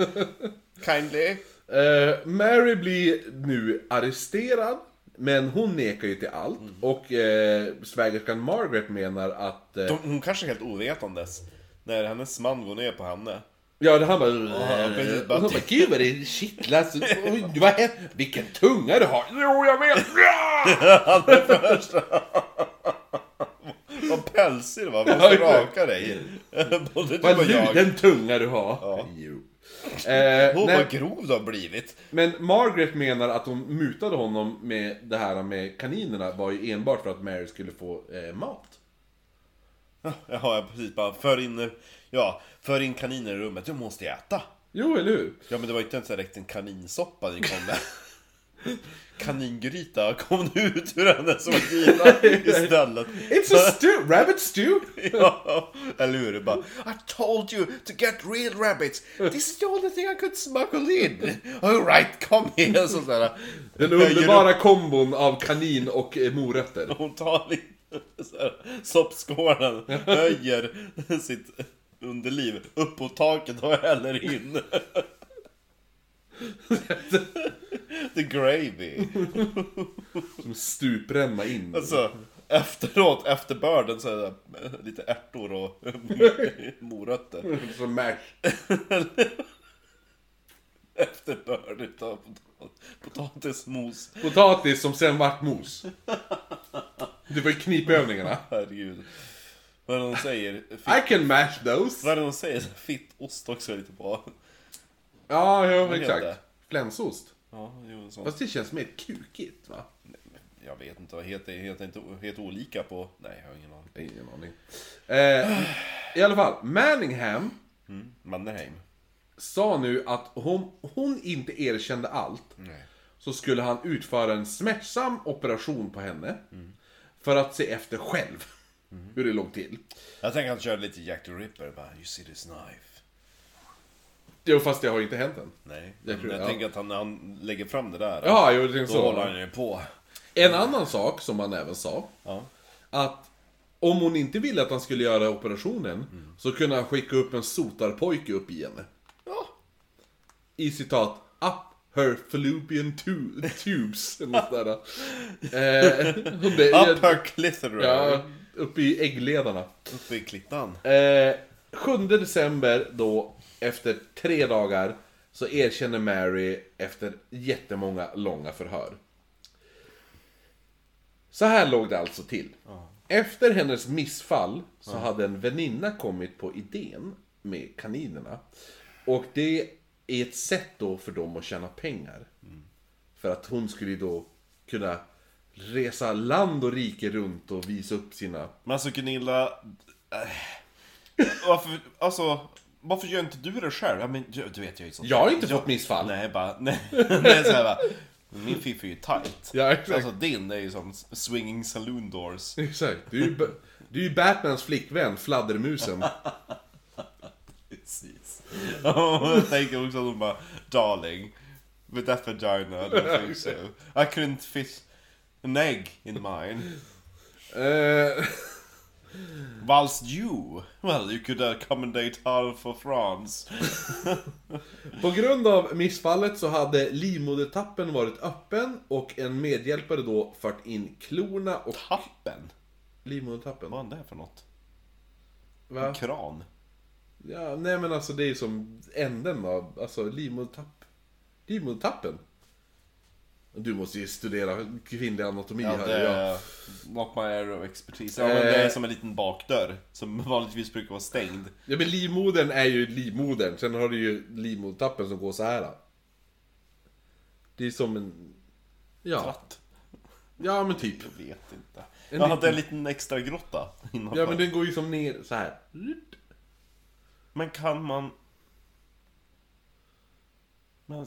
Speaker 2: Kindly?
Speaker 1: Eh, Mary blir nu arresterad, men hon nekar ju till allt. Och eh, svägerskan Margaret menar att... Eh,
Speaker 2: De, hon kanske är helt ovetandes när hennes man går ner på henne.
Speaker 1: ja, han bara... eh,
Speaker 2: ja, precis,
Speaker 1: och hon bara, gud vad det kittlar. så- Oj, vad hä- Vilken tunga du har. Jo, jag vet. Ja!
Speaker 2: <laughs> Vad pälsig du var, vi måste
Speaker 1: Ja, exakt.
Speaker 2: raka dig. <laughs> Både du
Speaker 1: <laughs> Vad
Speaker 2: och jag.
Speaker 1: luden tunga du har. Jo. Eh,
Speaker 2: Åh
Speaker 1: nej,
Speaker 2: vad grov du har blivit.
Speaker 1: men Margaret menar att hon mutade honom med det här med kaninerna var ju enbart för att Mary skulle få eh, mat.
Speaker 2: Jaha, <laughs> ja, precis. Bara för in, ja, för in kaniner i rummet, du måste äta.
Speaker 1: Jo, eller hur?
Speaker 2: Ja men det var inte ens direkt en kaninsoppa ni kom med.
Speaker 1: <laughs>
Speaker 2: Kaningryta kom nu ut ur
Speaker 1: <laughs>
Speaker 2: hennes vagina istället.
Speaker 1: It's <laughs>
Speaker 2: <laughs>
Speaker 1: a stew, rabbit stew!
Speaker 2: Ja, eller hur? Det Bara, I told you to get real rabbits. This is the only thing I could smuggle in. All right, kom igen. Så där.
Speaker 1: Den underbara kombon av kanin och eh, morötter.
Speaker 2: <laughs> Hon tar lite så här soppskålen, höjer sitt underliv upp på taket och häller <laughs> in. The gravy.
Speaker 1: Som stupränna in.
Speaker 2: Alltså, efteråt, efter börden så är det lite ärtor och <laughs> morötter.
Speaker 1: Som mash.
Speaker 2: Efter börd utav potat- potatismos.
Speaker 1: Potatis som sen vart mos. Det var ju knipövningarna.
Speaker 2: Herregud. Vad är det de säger? Fitt,
Speaker 1: I can mash those.
Speaker 2: vad är det de säger? Fitt ost också är lite bra.
Speaker 1: Ja, jo,
Speaker 2: heter
Speaker 1: exakt.
Speaker 2: det?
Speaker 1: Flänsost.
Speaker 2: Ja, jo, sånt.
Speaker 1: Fast det känns mer kukigt, va?
Speaker 2: Jag vet inte, heter, heter inte heter olika på... Nej, jag har ingen aning.
Speaker 1: Nej, Ingen aning. Eh, I alla fall, Manningham
Speaker 2: Mannerheim.
Speaker 1: sa nu att om hon inte erkände allt
Speaker 2: Nej.
Speaker 1: så skulle han utföra en smärtsam operation på henne för att se efter själv
Speaker 2: Mm.
Speaker 1: hur det låg till.
Speaker 2: Jag tänker att han körde lite Jack the Ripper, bara You see this knife?
Speaker 1: Jo, fast det har inte hänt än.
Speaker 2: Nej,
Speaker 1: Jag
Speaker 2: jag,
Speaker 1: tror-
Speaker 2: jag
Speaker 1: ja.
Speaker 2: tänker att han, när han lägger fram det där,
Speaker 1: Ja, jo, det är
Speaker 2: då
Speaker 1: så.
Speaker 2: håller han ju på.
Speaker 1: En annan sak som han även sa,
Speaker 2: Ja.
Speaker 1: att om hon inte ville att han skulle göra operationen
Speaker 2: Mm.
Speaker 1: så kunde han skicka upp en sotarpojke upp i henne.
Speaker 2: ja.
Speaker 1: I citat, up her fallopian tu- tubes. eller något där.
Speaker 2: <laughs>
Speaker 1: Eh, och det-
Speaker 2: Up her clitheroe!
Speaker 1: ja, upp i äggledarna.
Speaker 2: Uppe i klittan.
Speaker 1: Eh, 7 december då, efter tre dagar, så erkänner Mary efter jättemånga långa förhör. Så här låg det alltså till. Efter hennes missfall så hade en väninna kommit på idén med kaninerna. Och det är ett sätt då för dem att tjäna pengar. För att hon skulle ju då kunna resa land och rike runt och visa upp sina...
Speaker 2: Men eh, alltså Gunilla... Äh, varför... Alltså... varför gör inte du det själv? Ja, men du, du vet, jag är ju sån
Speaker 1: Jag har inte fått missfall.
Speaker 2: Nej, bara, nej. <laughs> Det är så här, bara, min fiff är ju tight.
Speaker 1: Ja, exakt.
Speaker 2: Alltså din är ju som swinging saloon doors.
Speaker 1: Exakt. Du är ju, Ba- du är ju Batmans flickvän,
Speaker 2: <laughs>
Speaker 1: fladdermusen.
Speaker 2: Precis. <laughs> Och jag tänker också att hon bara, darling, with that vagina, I don't think so. I couldn't fit an egg in mine.
Speaker 1: Eh,
Speaker 2: Whilst you, well, you could accommodate her for France.
Speaker 1: på grund av missfallet så hade livmodertappen varit öppen och en medhjälpare då fört in klorna och
Speaker 2: Tappen?
Speaker 1: livmodertappen.
Speaker 2: Vad är det för något?
Speaker 1: Va?
Speaker 2: Kran?
Speaker 1: Ja, nej men alltså det är ju som änden av, alltså livmodertapp. Livmodertappen. Du måste ju studera kvinnlig anatomi
Speaker 2: Ja,
Speaker 1: här.
Speaker 2: det
Speaker 1: Ja. Eh.
Speaker 2: är not my area of expertise. Ja, men det är som en liten bakdörr som <laughs> vanligtvis brukar vara stängd.
Speaker 1: ja men livmodern är ju livmodern, sen har du ju livmodertappen som går så här. Det är som en... Ja,
Speaker 2: Tratt?
Speaker 1: ja men typ.
Speaker 2: Jag vet inte.
Speaker 1: En
Speaker 2: Jag hade
Speaker 1: liten-
Speaker 2: en liten extra grotta innanför.
Speaker 1: Ja men den går ju som ner så här.
Speaker 2: men kan man... Men...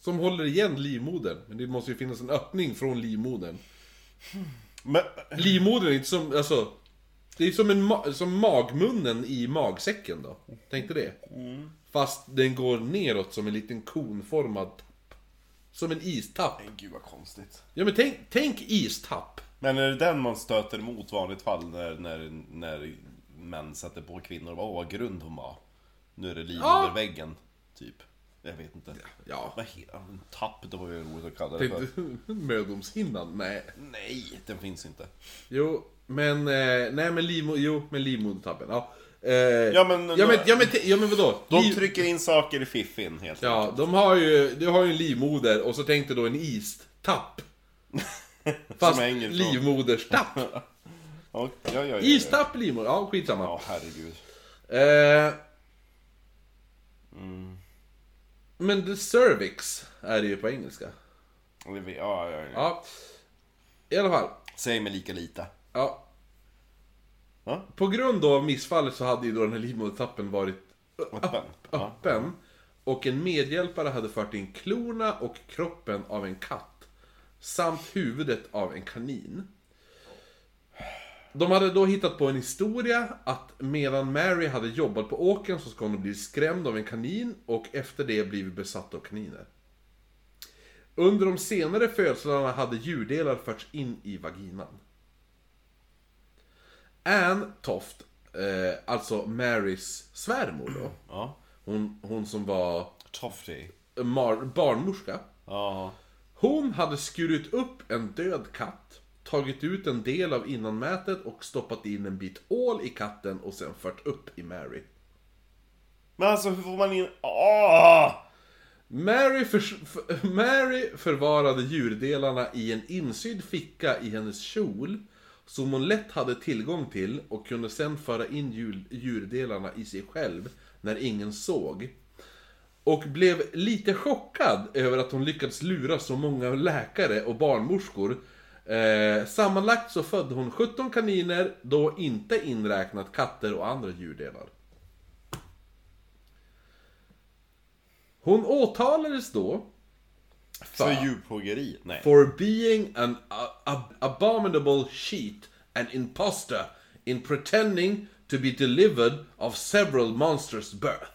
Speaker 1: Som håller igen livmodern. Men det måste ju finnas en öppning från livmodern.
Speaker 2: men...
Speaker 1: Livmodern är inte som, alltså... Det är som, en ma- som magmunnen i magsäcken då. Tänkte det?
Speaker 2: Mm.
Speaker 1: Fast den går neråt som en liten konformad tapp. Som en istapp.
Speaker 2: Men Gud vad konstigt.
Speaker 1: Ja men tänk, tänk istapp.
Speaker 2: Men är det den man stöter emot vanligt fall när, när, när män sätter på kvinnor och bara, åh vad grund hon var. Nu är det liv
Speaker 1: Ja.
Speaker 2: under väggen. Typ. Jag vet inte.
Speaker 1: Ja.
Speaker 2: Vad heter den? Tapp, det var ju roligt att kalla det för.
Speaker 1: Tänkte, <laughs> mödomshinnan? Nej.
Speaker 2: Nej, den finns inte.
Speaker 1: Jo, men... Eh, nej men livmo... Jo, men livmodertappen. Ja. Eh, ja,
Speaker 2: Ja men,
Speaker 1: men, ja, men, ja, men, ja men vadå?
Speaker 2: de
Speaker 1: Liv-
Speaker 2: trycker in saker i fiffin helt enkelt.
Speaker 1: Ja, de har ju, de har ju en livmoder och så tänkte då en
Speaker 2: <laughs>
Speaker 1: istapp. Fast
Speaker 2: hänger från- <laughs>
Speaker 1: livmoderstapp.
Speaker 2: Ja, ja, ja, ja, ja.
Speaker 1: Istapp, livmoder, ja skitsamma.
Speaker 2: Ja, Mm. herregud.
Speaker 1: Eh, Men the cervix är det ju på engelska.
Speaker 2: Ja, det vet- Ja, ja, ja.
Speaker 1: Ja, i alla fall.
Speaker 2: Säg mig lika lite.
Speaker 1: Ja.
Speaker 2: Va?
Speaker 1: På grund av missfallet så hade ju då den här livmodertappen varit
Speaker 2: Öppen. Ja.
Speaker 1: öppen. Och en medhjälpare hade fört in klorna och kroppen av en katt. Samt huvudet av en kanin. De hade då hittat på en historia att medan Mary hade jobbat på åkern så ska hon bli skrämd av en kanin och efter det blivit besatt av kaniner. Under de senare födslarna hade djurdelar förts in i vaginan. Anne Toft, eh, alltså Marys svärmor då.
Speaker 2: ja.
Speaker 1: Hon, hon som var
Speaker 2: Tofty.
Speaker 1: mar- barnmorska.
Speaker 2: Ja.
Speaker 1: Hon hade skurit upp en död katt, tagit ut en del av innanmätet och stoppat in en bit ål i katten och sen fört upp i Mary.
Speaker 2: Men alltså hur får man in... Ah! Åh!
Speaker 1: Mary, förs- f- Mary förvarade djurdelarna i en insydd ficka i hennes kjol som hon lätt hade tillgång till och kunde sen föra in djur- djurdelarna i sig själv när ingen såg. Och blev lite chockad över att hon lyckats lura så många läkare och barnmorskor. Eh, sammanlagt så födde hon 17 kaniner, då inte inräknat katter och andra djurdelar. Hon åtalades då
Speaker 2: För djurplågeri? Nej.
Speaker 1: for being an a- ab- abominable cheat and imposter in pretending to be delivered of several monsters' birth.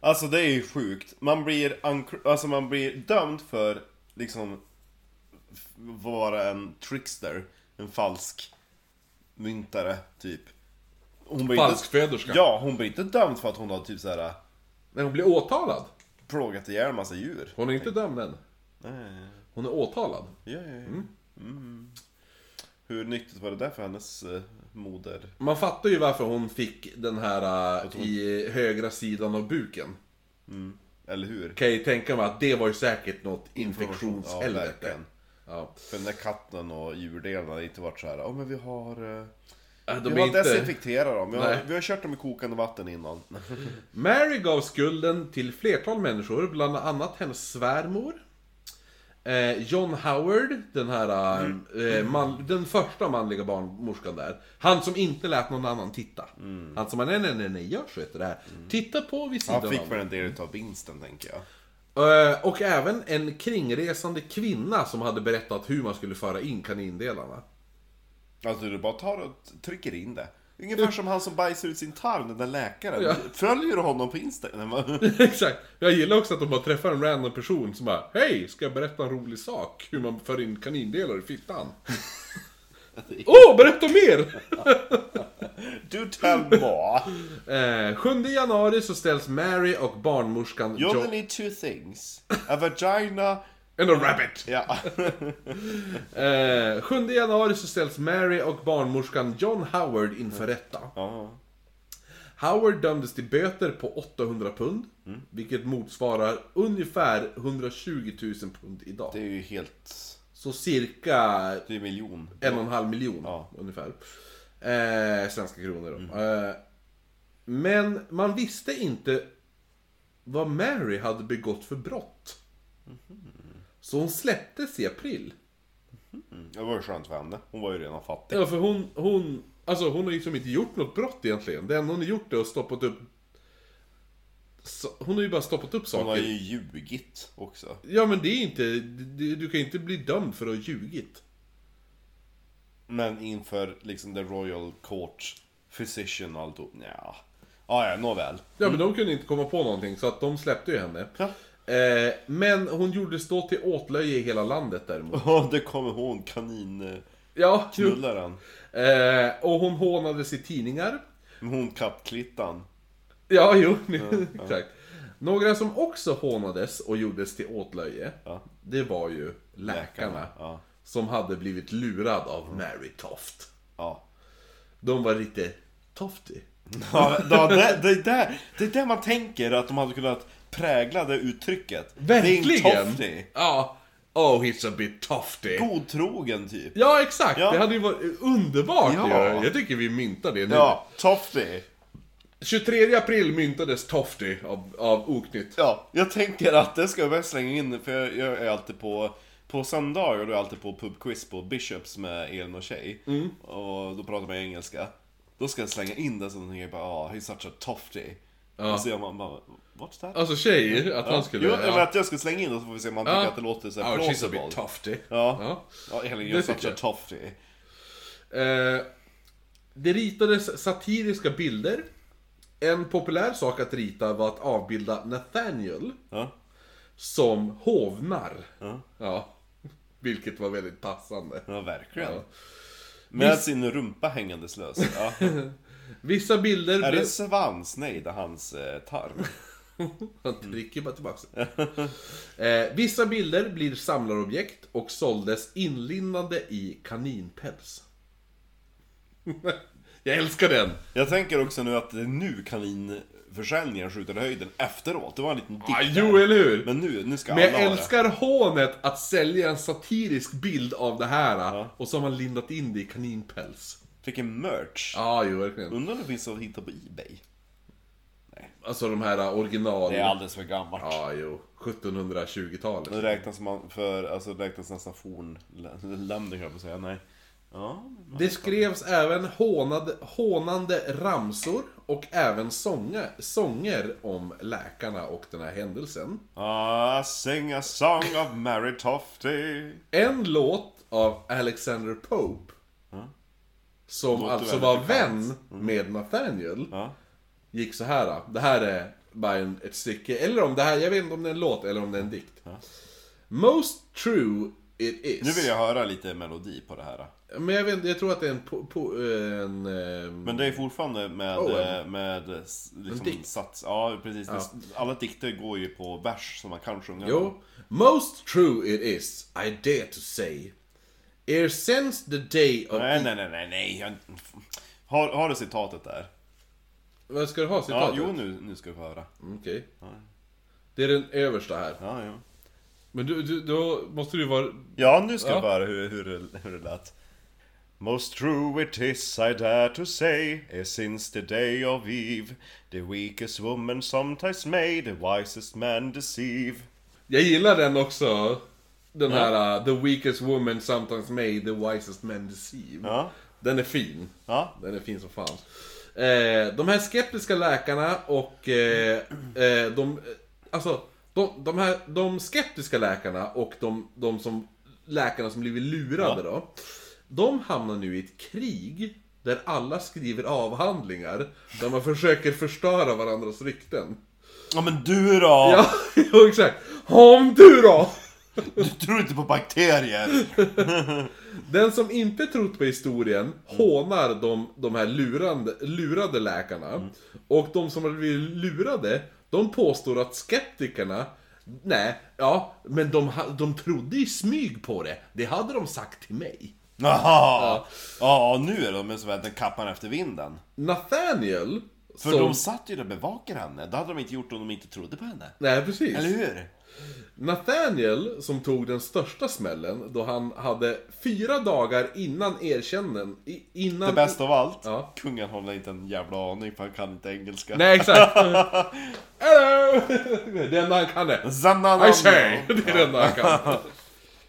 Speaker 2: Alltså det är ju sjukt. Man blir, ankr- alltså, man blir dömd för liksom f- vara en trickster. En falsk myntare, typ. Hon blir
Speaker 1: Falskföderska.
Speaker 2: Ja, hon blir inte dömd för att hon har typ så här
Speaker 1: Men hon blir åtalad.
Speaker 2: plågat ihjäl en massa djur.
Speaker 1: Hon är inte dömd än.
Speaker 2: Nej.
Speaker 1: Hon är åtalad.
Speaker 2: Ja, ja, ja. Mm. Hur nyttigt var det där för hennes eh, moder?
Speaker 1: Man fattar ju varför hon fick den här äh, i högra sidan av buken.
Speaker 2: Eller hur?
Speaker 1: Kan jag ju tänka mig att det var ju säkert något
Speaker 2: Ja,
Speaker 1: infektionshelvete.
Speaker 2: verkligen.
Speaker 1: Ja.
Speaker 2: För den där katten och djurdelarna har inte varit så här. Ja, men vi har... eh,
Speaker 1: Äh,
Speaker 2: Vi
Speaker 1: De är
Speaker 2: har
Speaker 1: inte...
Speaker 2: desinfekterat dem. Vi har,
Speaker 1: Nej.
Speaker 2: vi har kört dem i kokande
Speaker 1: <laughs>
Speaker 2: vatten innan.
Speaker 1: Mary gav skulden till flertal människor, bland annat hennes svärmor. Eh, Eh, John Howard, den här eh, man, den första manliga barnmorskan där. Han som inte lät någon annan titta. Han som bara, nej, nej, nej, nej, jag sköter det här. Titta på vid sidan
Speaker 2: Han fick
Speaker 1: om.
Speaker 2: väl en del av vinsten, tänker jag.
Speaker 1: Eh, Och även en kringresande kvinna som hade berättat hur man skulle föra in kanindelarna.
Speaker 2: Alltså du bara tar och trycker in det. Ungefär som han som bajsar ut sin tarm, den där läkaren.
Speaker 1: Ja.
Speaker 2: Följer du honom på Instagram? <laughs>
Speaker 1: <laughs> Exakt. Jag gillar också att de bara träffar en random person som bara Hej, ska jag berätta en rolig sak? Hur man för in kanindelar i fittan. Åh, berätta mer!
Speaker 2: Du tell more.
Speaker 1: Eh, 7 januari så ställs Mary och barnmorskan
Speaker 2: You only
Speaker 1: John...
Speaker 2: need two things. A vagina...
Speaker 1: And a rabbit!
Speaker 2: Ja.
Speaker 1: Eh, 7 januari så ställs Mary och barnmorskan John Howard inför rätta.
Speaker 2: Ja.
Speaker 1: Howard dömdes till böter på 800 pund, vilket motsvarar ungefär 120 000 pund idag.
Speaker 2: Det är ju helt...
Speaker 1: Så cirka
Speaker 2: Det är en miljon.
Speaker 1: en och en halv miljon
Speaker 2: Ja.
Speaker 1: ungefär. Eh, svenska kronor då. Eh, men man visste inte vad Mary hade begått för brott. Mhm. Så hon släpptes i april.
Speaker 2: Det var ju skönt för henne. Hon var ju redan fattig.
Speaker 1: Ja, för hon, hon, alltså hon har liksom inte gjort något brott egentligen. Det enda hon har gjort är att stoppat upp... Så- Hon har ju bara stoppat upp
Speaker 2: Hon
Speaker 1: saker.
Speaker 2: har ju ljugit också.
Speaker 1: Ja, men det är inte... Du, du kan inte bli dömd för att ha ljugit.
Speaker 2: Men inför liksom the Royal Court Physician och allt Ja. Ah, ja, nåväl.
Speaker 1: Ja, men de kunde inte komma på någonting, så att de släppte ju henne.
Speaker 2: Ja.
Speaker 1: Eh, men hon gjorde stå till åtlöje i hela landet däremot.
Speaker 2: Ja, det kommer hon, kaninknullaren.
Speaker 1: Ja, jo. Eh, och hon hånades i tidningar.
Speaker 2: Hon kappklittan.
Speaker 1: Ja, jo, <laughs> exakt. Några som också hånades och gjordes till åtlöje,
Speaker 2: Ja.
Speaker 1: det var ju läkarna.
Speaker 2: Ja.
Speaker 1: Som hade blivit lurad av Mary Toft.
Speaker 2: Ja.
Speaker 1: De var lite toftig.
Speaker 2: Ja, ja, det, det, där, det är där man tänker att de hade kunnat prägla det uttrycket. Det är en
Speaker 1: Verkligen!
Speaker 2: tofflig.
Speaker 1: Ja. Oh, it's a bit toftig.
Speaker 2: Godtrogen typ.
Speaker 1: Ja, exakt!
Speaker 2: Ja.
Speaker 1: Det hade ju varit underbart
Speaker 2: Ja.
Speaker 1: ju. Jag tycker vi myntar det nu.
Speaker 2: Ja, tofflig.
Speaker 1: 23 april myntades Tofty av, av Oknytt.
Speaker 2: Ja, jag tänker att det ska jag väl slänga in för jag, jag är alltid på på söndagar då är jag alltid på pubquiz på Bishops med Elin och tjej. Och då pratar man engelska. Då ska jag slänga in det som tänker jag bara ah, he's such a tofty. Och så gör man bara, what's that?
Speaker 1: Alltså tjejer, att han skulle...
Speaker 2: jo, eller
Speaker 1: ja.
Speaker 2: att jag ska slänga in det så får vi se om man tycker att det låter så här
Speaker 1: oh, she's a
Speaker 2: plausible.
Speaker 1: bit Tofty.
Speaker 2: Ja.
Speaker 1: Ja.
Speaker 2: Ja, Elin,
Speaker 1: Det
Speaker 2: you're such
Speaker 1: tycker
Speaker 2: a tofty.
Speaker 1: Eh, det ritades satiriska bilder. En populär sak att rita var att avbilda Nathaniel
Speaker 2: Ja.
Speaker 1: som hovnar.
Speaker 2: Ja.
Speaker 1: Ja. Vilket var väldigt passande.
Speaker 2: Ja, verkligen.
Speaker 1: Ja.
Speaker 2: Med sin rumpa hängandes lös. Ja.
Speaker 1: Vissa bilder...
Speaker 2: Är
Speaker 1: blev-
Speaker 2: det svans? Nej, det är hans eh, tarm.
Speaker 1: Han
Speaker 2: Mm.
Speaker 1: trycker bara tillbaka
Speaker 2: <laughs>
Speaker 1: eh, Vissa bilder blir samlarobjekt och såldes inlindade i kaninpäls. <laughs> Jag älskar den!
Speaker 2: Jag tänker också nu att det är nu kaninförsäljningen skjuter i höjden efteråt. Det var en liten dipp.
Speaker 1: Ah,
Speaker 2: där.
Speaker 1: jo, eller hur?
Speaker 2: Men nu, nu ska
Speaker 1: Men
Speaker 2: alla
Speaker 1: jag
Speaker 2: ha det.
Speaker 1: älskar hånet att sälja en satirisk bild av det här och så har man lindat in det i kaninpäls.
Speaker 2: Vilken merch.
Speaker 1: Ja, jo verkligen.
Speaker 2: Undrar om det finns att hitta på Ebay.
Speaker 1: Alltså de här original...
Speaker 2: Det är alldeles för gammalt.
Speaker 1: Ja, jo. 1720-talet.
Speaker 2: Det räknas man för, alltså det räknas nästan fornlämning höll jag på att säga. Nej. Ja.
Speaker 1: Det skrevs även hånade, hånande ramsor och även sånger, sånger om läkarna och den här händelsen.
Speaker 2: Ah, sing a song of Mary Tofty.
Speaker 1: En låt av Alexander Pope, som
Speaker 2: Låter
Speaker 1: alltså
Speaker 2: väldigt
Speaker 1: var
Speaker 2: bekant. Mm.
Speaker 1: vän med Nathaniel,
Speaker 2: Ja.
Speaker 1: gick så här. då. Det här är bara en, ett stycke, eller om det här, jag vet inte om det är en låt eller om det är en dikt. Most true it is.
Speaker 2: Nu vill jag höra lite melodi på det här.
Speaker 1: Men jag, vet, inte, jag tror att det är en... Po, po, en ehm,
Speaker 2: Men det är fortfarande med,
Speaker 1: Oh, ja.
Speaker 2: eh, med s- liksom
Speaker 1: dikt.
Speaker 2: sats. Ja, precis. Det- Alla dikter går ju på vers som man kan sjunga.
Speaker 1: Jo. Most true it is, I dare to say. Er since the day of...
Speaker 2: Nej, nej, nej, nej, nej. Jag... Har, har du citatet där?
Speaker 1: Vad ska du ha
Speaker 2: Ja,
Speaker 1: citatet?
Speaker 2: jo, nu, nu ska vi få höra.
Speaker 1: Okej. Det är den översta här.
Speaker 2: Ja, ja.
Speaker 1: Men du, du, då måste du vara...
Speaker 2: ja nu ska
Speaker 1: Ja.
Speaker 2: vi få höra hur, hur, det- hur det lät. Most true it is, I dare to say, is since the day of Eve, the weakest woman sometimes may the wisest man deceive.
Speaker 1: Jag gillar den också. Den här uh, The weakest woman sometimes may, the wisest men deceive.
Speaker 2: Ja.
Speaker 1: Den är fin.
Speaker 2: Ja.
Speaker 1: Den är fin som fan. Eh, de här skeptiska läkarna och eh, eh, de, eh, alltså, de, de, här, de skeptiska läkarna och de, de som, läkarna som blivit lurade då. De hamnar nu i ett krig där alla skriver avhandlingar där man försöker förstöra varandras rykten. <laughs>
Speaker 2: Ja men du då!
Speaker 1: Ja, ja exakt. Om du då!
Speaker 2: Du tror inte på bakterier!
Speaker 1: <laughs> Den som inte trott på historien hånar de, de här lurande, lurade läkarna.
Speaker 2: Mm.
Speaker 1: Och de som har blivit lurade, de påstår att skeptikerna Nej, ja, men de, ha- de trodde i smyg på det. Det hade de sagt till mig.
Speaker 2: Jaha! Ja, nu är de som väntar kappan efter vinden.
Speaker 1: Nathaniel,
Speaker 2: För
Speaker 1: som...
Speaker 2: de satt ju där och bevakade henne. Det hade de inte gjort om de inte trodde på henne.
Speaker 1: Nej, precis.
Speaker 2: Eller hur?
Speaker 1: Nathaniel, som tog den största smällen då han hade fyra dagar innan erkännen... i- Innan...
Speaker 2: Det bästa av allt,
Speaker 1: Ja.
Speaker 2: kungen håller inte en jävla aning för han kan inte engelska.
Speaker 1: Nej,
Speaker 2: <laughs>
Speaker 1: exakt. Hello! <laughs> Det enda han kan är...
Speaker 2: Zanana-
Speaker 1: I say! <laughs> Det är det enda han kan.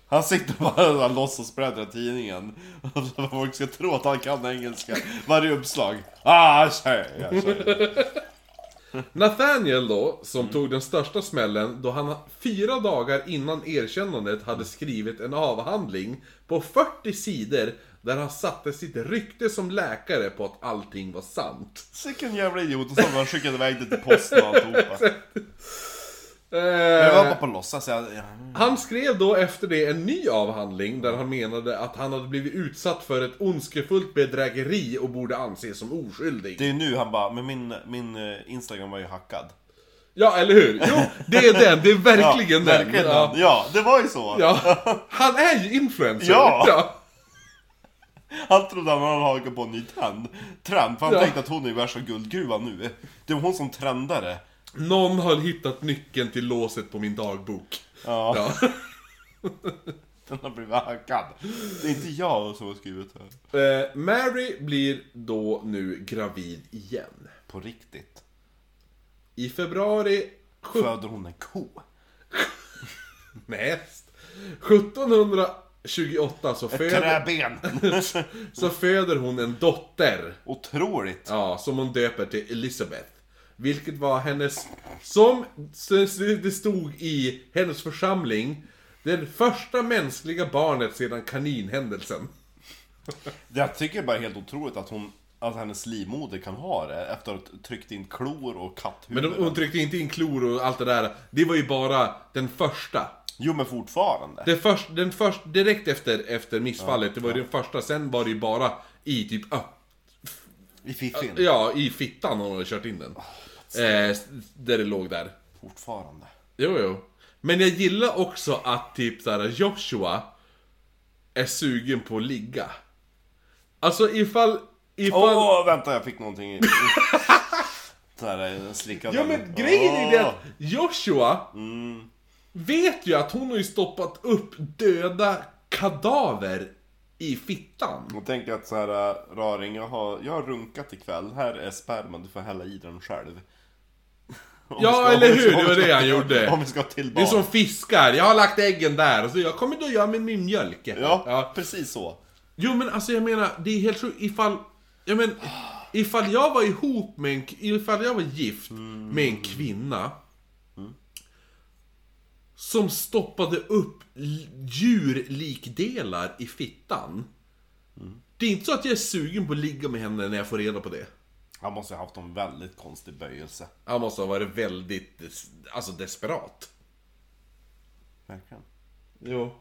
Speaker 2: Han sitter bara och låtsas bläddra tidningen. <laughs> Och så Folk ska tro att han kan engelska. Varje uppslag. Ah, I say, I say.
Speaker 1: <laughs> Nathaniel då, som tog den största smällen då han fyra dagar innan erkännandet hade skrivit en avhandling på 40 sidor där han satte sitt rykte som läkare på att allting var sant.
Speaker 2: Sicken jävla idiot. Och så har han skickat iväg det till posten och alltihopa. Det var
Speaker 1: Eh,
Speaker 2: bara på låtsas. Jag, jag,
Speaker 1: han skrev då efter det en ny avhandling där han menade att han hade blivit utsatt för ett ondskefullt bedrägeri och borde anses som oskyldig.
Speaker 2: det är nu han bara, men min, min eh, Instagram var ju hackad.
Speaker 1: Ja, eller hur? Jo, det är den. Det är verkligen
Speaker 2: ja,
Speaker 1: den.
Speaker 2: Verkligen
Speaker 1: ja.
Speaker 2: den. Ja, det var ju så.
Speaker 1: Ja. Han är ju influencer.
Speaker 2: Ja. Han trodde han hade hakat på en ny trend. Trend, för han
Speaker 1: Ja.
Speaker 2: tänkte att hon är värsta guldgruvan nu. Det var hon som trendade.
Speaker 1: Någon har hittat nyckeln till låset på min dagbok.
Speaker 2: Ja,
Speaker 1: Ja.
Speaker 2: <laughs> den har blivit hackad. Det är inte jag som har skrivit det här.
Speaker 1: Eh, Mary blir då nu gravid igen.
Speaker 2: På riktigt.
Speaker 1: I februari... Sjut-
Speaker 2: Föder hon en ko?
Speaker 1: Nej, häst. 1728 så föder,
Speaker 2: Träben!
Speaker 1: så föder hon en dotter.
Speaker 2: Otroligt!
Speaker 1: Ja, som hon döper till Elizabeth. Vilket var hennes, som det stod i hennes församling, det första mänskliga barnet sedan kaninhändelsen.
Speaker 2: Jag tycker bara helt otroligt att hon att hennes livmoder kan ha det efter att ha tryckt in klor och
Speaker 1: Men
Speaker 2: katthuvuden.
Speaker 1: de, hon tryckte inte in klor och allt det där. Det var ju bara den första.
Speaker 2: Jo men fortfarande.
Speaker 1: Det först, den först, direkt efter, efter missfallet, det var ju den första. Sen var det ju bara i typ öpp,
Speaker 2: I fiffin.
Speaker 1: ja, i fittan hon hade kört in den. Eh, där det låg där.
Speaker 2: Fortfarande.
Speaker 1: Jo, jo. Men jag gillar också att typ såhär Joshua är sugen på att ligga. Alltså ifall... ifall...
Speaker 2: Åh, vänta jag fick någonting i... <laughs> eh, i- Där är en slickad
Speaker 1: Ja men grejen är det att Joshua vet ju att hon har ju stoppat upp döda kadaver i fittan.
Speaker 2: Och tänk att så här, äh, raring, jag har, jag har runkat ikväll, här är sperman, du får hälla i den själv. Om vi
Speaker 1: Ja,
Speaker 2: ska- om
Speaker 1: eller
Speaker 2: vi ska-
Speaker 1: hur?
Speaker 2: om
Speaker 1: Det var
Speaker 2: vi ska-
Speaker 1: det han gjorde.
Speaker 2: <laughs> Om vi ska till
Speaker 1: Det är
Speaker 2: barn.
Speaker 1: som fiskar, jag har lagt äggen där och så jag kommer då göra med min mjölk.
Speaker 2: Ja, precis så.
Speaker 1: Jo men alltså jag menar, det är helt sjukt ifall... Jag men, ifall jag var ihop med en... Ifall jag var gift med en kvinna Som stoppade upp l- djurlikdelar i fittan Det är inte så att jag är sugen på att ligga med henne när jag får reda på det
Speaker 2: Han måste ha haft en väldigt konstig böjelse.
Speaker 1: Han måste ha varit väldigt, des- alltså desperat
Speaker 2: Verkligen.
Speaker 1: Jo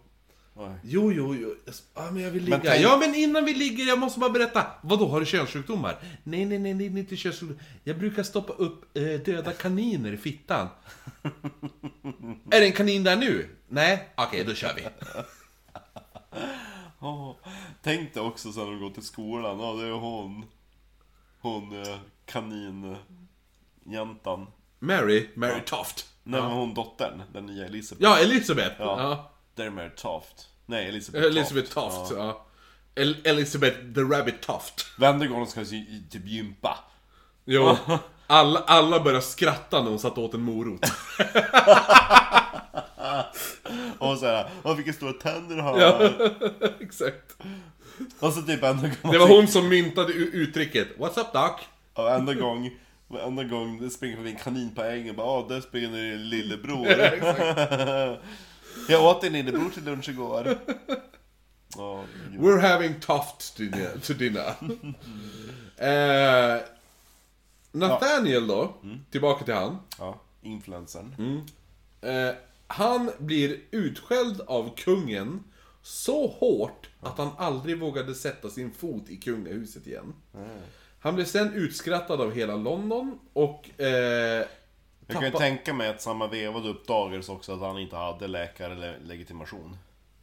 Speaker 2: Oj.
Speaker 1: Jo, jo, jo. Ja, men jag vill ligga.
Speaker 2: Men tänk-
Speaker 1: Ja, men innan vi ligger, jag måste bara berätta. Vadå, har du könssjukdomar? Nej, nej, nej, nej, det är inte könssjukdomar. Jag brukar stoppa upp eh, döda kaniner i fittan. är det en kanin där nu? Nej? Okej, då kör vi.
Speaker 2: Ja, tänk dig också sen när de går till skolan, ja det är hon. Hon eh, kaninjäntan.
Speaker 1: Mary, Mary Toft.
Speaker 2: Nej men hon dottern, den nya Elisabeth.
Speaker 1: Ja, Elisabeth.
Speaker 2: Ja.
Speaker 1: Ja.
Speaker 2: Där är Mary Taft. Nej, Elisabeth Taft.
Speaker 1: Elisabeth Toft, ja. El- Elisabeth the Rabbit Toft.
Speaker 2: Vändegården ska ju i- typ gympa.
Speaker 1: Jo. Alla, alla började skratta när hon satt åt en morot.
Speaker 2: och så här, åh vilka stora tänder du har.
Speaker 1: Ja, <laughs> exakt.
Speaker 2: Och så typ enda gång,
Speaker 1: Det var hon som myntade u- uttrycket What's up doc?
Speaker 2: ja, enda gång, enda gång det springer förbi en kanin på ängen och bara, åh där springer
Speaker 1: <laughs>
Speaker 2: din lillebror. Jag åt din lillebror till lunch igår. Ja, gud.
Speaker 1: We're having toft to dinner. To
Speaker 2: <laughs>
Speaker 1: dinner. eh, Nathaniel då,
Speaker 2: Mm.
Speaker 1: tillbaka till han.
Speaker 2: ja influencern.
Speaker 1: Eh, han blir utskälld av kungen så hårt att han aldrig vågade sätta sin fot i kungahuset igen. Han blev sen utskrattad av hela London och... Eh,
Speaker 2: Jag kan ju
Speaker 1: tappa-
Speaker 2: tänka mig att samma veva då uppdagades också att han inte hade läkarlegitimation.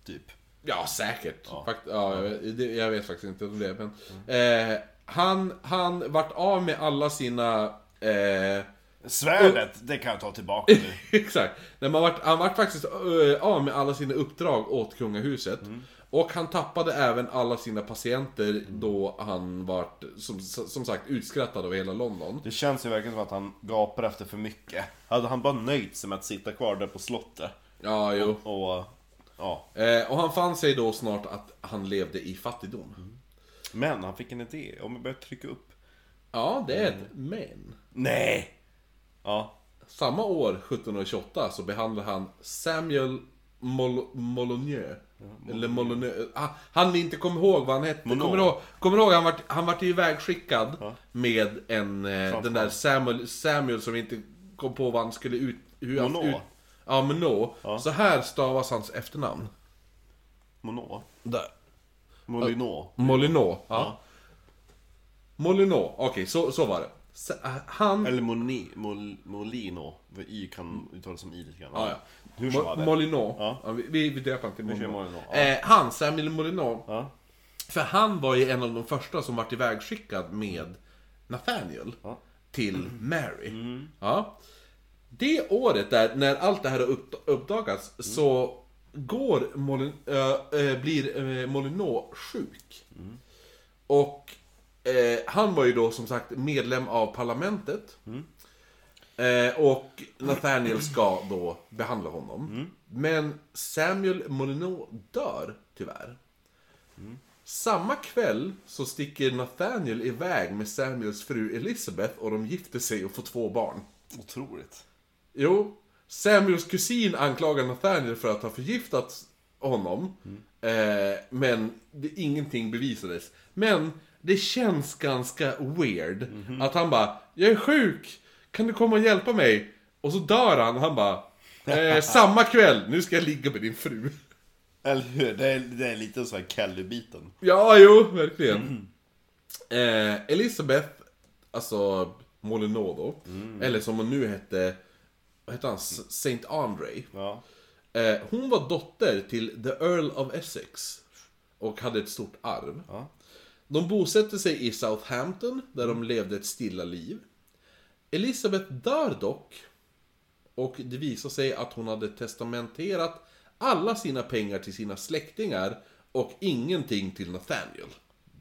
Speaker 2: Typ.
Speaker 1: Ja, säkert. Fakt, ja, jag, vet, det- jag vet faktiskt inte om det. Men,
Speaker 2: Mm.
Speaker 1: eh, han, han vart av med alla sina... Eh,
Speaker 2: Svärdet, det kan jag ta tillbaka
Speaker 1: <laughs>
Speaker 2: nu.
Speaker 1: exakt. Nej, man vart, han vart faktiskt eh, av med alla sina uppdrag åt kungahuset. Och han tappade även alla sina patienter då han vart, som, som sagt, utskrattad av hela London.
Speaker 2: <laughs> Det känns ju verkligen som att han gapar efter för mycket. Hade han bara nöjt sig med att sitta kvar där på slottet
Speaker 1: Ja, jo.
Speaker 2: och... Ja.
Speaker 1: Eh, och han fann sig då snart att han levde i fattigdom.
Speaker 2: Men han fick en idé. Om vi börjar trycka upp...
Speaker 1: Ja, det är ett men.
Speaker 2: Nej! Ja.
Speaker 1: Samma år, 1728, så behandlar han Samuel Mol- Molyneux. Eller Molyneux. Ah, han ni inte kommer ihåg vad han hette.
Speaker 2: Monod.
Speaker 1: Kommer du ihåg, kommer du ihåg han vart, han vart ju ivägskickad med en, eh, den där Samuel, Samuel som vi inte kom på vad han skulle ut... Hur han,
Speaker 2: Monod.
Speaker 1: ut ja, Monod. Så här stavas hans efternamn.
Speaker 2: Monod.
Speaker 1: Där.
Speaker 2: Molinot.
Speaker 1: Molyneux. Ja. Molyneux, okej så, så var det. Sa- Han...
Speaker 2: Eller Moni, Mol, Molino. För Y kan uttalas som I lite grann.
Speaker 1: Ja, ja.
Speaker 2: Hur som
Speaker 1: Mo-
Speaker 2: var det?
Speaker 1: Molinot.
Speaker 2: Ja.
Speaker 1: Ja, vi, vi, vi döper han till
Speaker 2: kör
Speaker 1: Molinot.
Speaker 2: Molinot, ja.
Speaker 1: Eh, han, Samuel Molinot.
Speaker 2: Ja.
Speaker 1: För han var ju en av de första som vart ivägskickad med Nathaniel
Speaker 2: Ja. Mm.
Speaker 1: till Mary. Ja. Det året där, när allt det här har upp, uppdagats,
Speaker 2: Mm.
Speaker 1: så går Molin, eh, eh, blir äh, Molinot sjuk.
Speaker 2: Mm.
Speaker 1: Och eh, han var ju då som sagt medlem av parlamentet. Eh, och Nathaniel ska då behandla honom. Men Samuel Molyneux dör tyvärr. Samma kväll så sticker Nathaniel iväg med Samuels fru Elizabeth och de gifter sig och får två barn.
Speaker 2: Otroligt.
Speaker 1: Jo, Samuels kusin anklagar Nathaniel för att ha förgiftat honom. Eh, men det, ingenting bevisades. Men det känns ganska weird att han bara Jag är sjuk! Kan du komma och hjälpa mig? Och så dör han och han bara eh, Samma kväll, nu ska jag ligga med din fru.
Speaker 2: Eller hur? Det är, det är lite så här Kelly-biten.
Speaker 1: Ja, jo, verkligen. Eh, Elisabeth, alltså Molinot då, eller som hon nu hette, vad hette han, S- Saint Andre.
Speaker 2: Ja.
Speaker 1: Eh, hon var dotter till the Earl of Essex och hade ett stort arv.
Speaker 2: Ja.
Speaker 1: De bosatte sig i Southampton där de levde ett stilla liv. Elisabeth dör dock och det visar sig att hon hade testamenterat alla sina pengar till sina släktingar och ingenting till Nathaniel.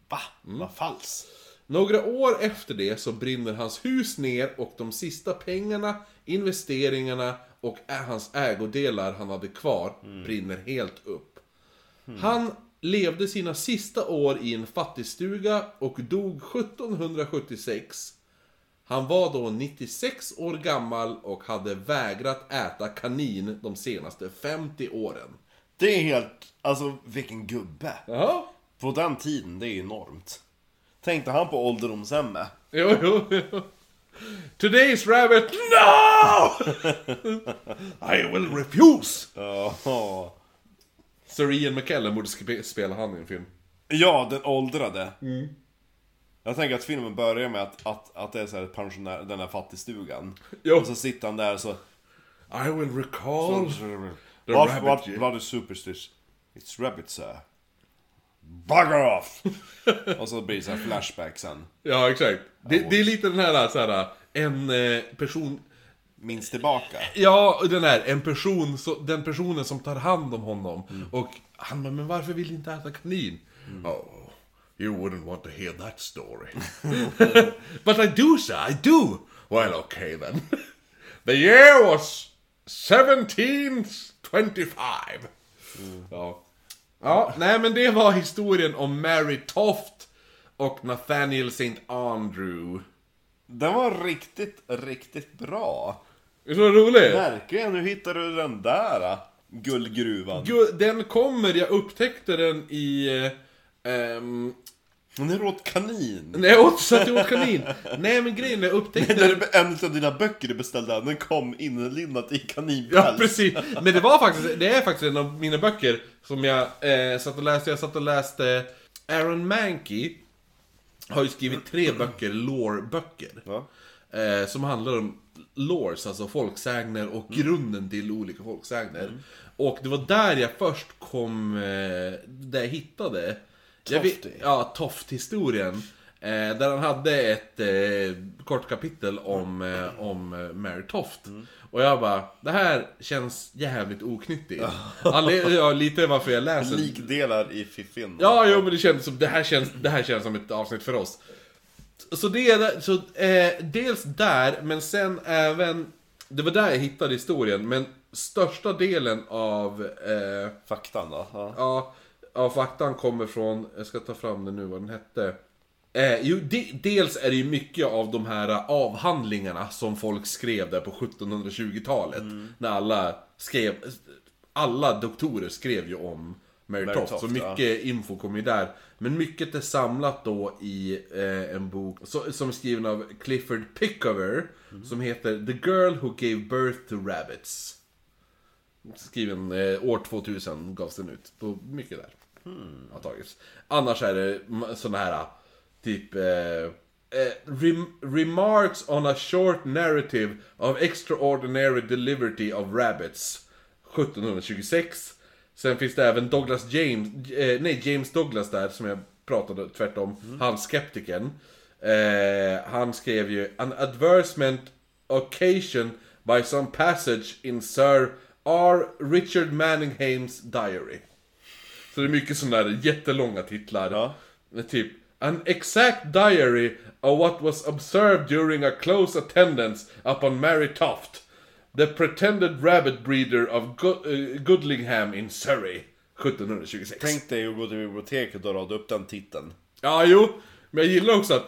Speaker 2: Va?
Speaker 1: Mm.
Speaker 2: Vad falskt.
Speaker 1: Några år efter det så brinner hans hus ner och de sista pengarna, investeringarna och ä- hans ägodelar han hade kvar brinner helt upp. Han levde sina sista år i en fattigstuga och dog 1776. Han var då 96 år gammal och hade vägrat äta kanin de senaste 50 åren.
Speaker 2: Det är helt... Alltså, vilken gubbe.
Speaker 1: Jaha?
Speaker 2: På den tiden, det är enormt. Tänkte han på ålderdomshemmet?
Speaker 1: Jo, jo, jo. Today's rabbit, no! I will refuse!
Speaker 2: Ja.
Speaker 1: Sir Ian McKellen borde spe- spela han i en film.
Speaker 2: Ja, den åldrade.
Speaker 1: Mm.
Speaker 2: Jag tänker att filmen börjar med att, att, att det är så här pensionär, den här fattigstugan.
Speaker 1: Jo.
Speaker 2: Och så sitter han där och så...
Speaker 1: I will recall... The
Speaker 2: What,
Speaker 1: rabbit,
Speaker 2: what
Speaker 1: yeah.
Speaker 2: bloody superstition? It's rabbit sir.
Speaker 1: <laughs>
Speaker 2: Bugger off! och så blir det så här flashback sen.
Speaker 1: Ja, exakt. Det, det är lite den här, så här en eh, person...
Speaker 2: Minns tillbaka.
Speaker 1: Ja, den här, en person, så, den personen som tar hand om honom. Och han bara, men varför vill du inte äta kanin? Oh, you wouldn't want to hear that story. But I do, sir, I <laughs> do! Well, okay then. The year was 17 25! Ja. ja, nej men det var historien om Mary Toft och Nathaniel St. Andrew.
Speaker 2: Den var riktigt, riktigt bra.
Speaker 1: Visst var det roligt?
Speaker 2: Verkligen, hur hittade du den där äh, guldgruvan?
Speaker 1: Gud, den kommer, jag upptäckte den i... Eh, ehm,
Speaker 2: Hon åt kanin.
Speaker 1: när jag åt satt jag åt kanin. Nej men grejen är, jag upptäckte
Speaker 2: Det är en av dina böcker du beställde, den kom inlindad i kaninpäls.
Speaker 1: Ja precis, men det var faktiskt, det är faktiskt en av mina böcker som jag eh, satt och läste, jag satt och läste Aaron Mankey har ju skrivit tre böcker, lore-böcker.
Speaker 2: Ja.
Speaker 1: Eh, som handlar om lores, alltså folksägner och grunden till olika folksägner. Och det var där jag först kom, eh, där jag hittade jag vet-
Speaker 2: Tofty.
Speaker 1: Ja, Toft-historien. Eh, där han hade ett eh, kort kapitel om, eh, om eh, Mary Toft. Och jag bara, det här känns jävligt oknyttigt. Anled- ja, lite varför jag läser
Speaker 2: Likdelar i fiffin.
Speaker 1: Ja, jo, men det kändes som, det här känns, det här känns som ett avsnitt för oss. Så det är, där- så, eh, dels där, men sen även, det var där jag hittade historien, men största delen av, eh,
Speaker 2: Faktan då. Ja.
Speaker 1: ja, av faktan kommer från, jag ska ta fram den nu, vad den hette. Eh, jo, de, dels är det ju mycket av de här eh, avhandlingarna som folk skrev där på 1720-talet. När alla skrev, alla doktorer skrev ju om Mary,
Speaker 2: Mary
Speaker 1: Toft, så
Speaker 2: Toft,
Speaker 1: mycket
Speaker 2: ja.
Speaker 1: mycket info kommer ju där. Men mycket är samlat då i eh, en bok so- som är skriven av Clifford Pickover. Som heter The Girl Who Gave Birth to Rabbits. Skriven eh, år 2000 gavs den ut. På mycket där. Har tagits. Annars är det ma- såna här typ... Eh, Eh, rem remarks on a short narrative of extraordinary delivery of rabbits 1726. Sen finns det även Douglas James, eh, nej James Douglas där som jag pratade tvärtom, han skeptiken. Eh, han skrev ju An adversement occasion by some passage in Sir R. Richard Manningham's diary. Så det är mycket sådana där jättelånga titlar.
Speaker 2: Ja.
Speaker 1: Med Typ An exact diary of what was observed during a close attendance upon Mary Toft, the pretended rabbit breeder of Go- eh, Goodlingham in Surrey, 1726.
Speaker 2: Tänk dig att gå till biblioteket och rada upp den titeln.
Speaker 1: Ja, jo. Men jag gillar också att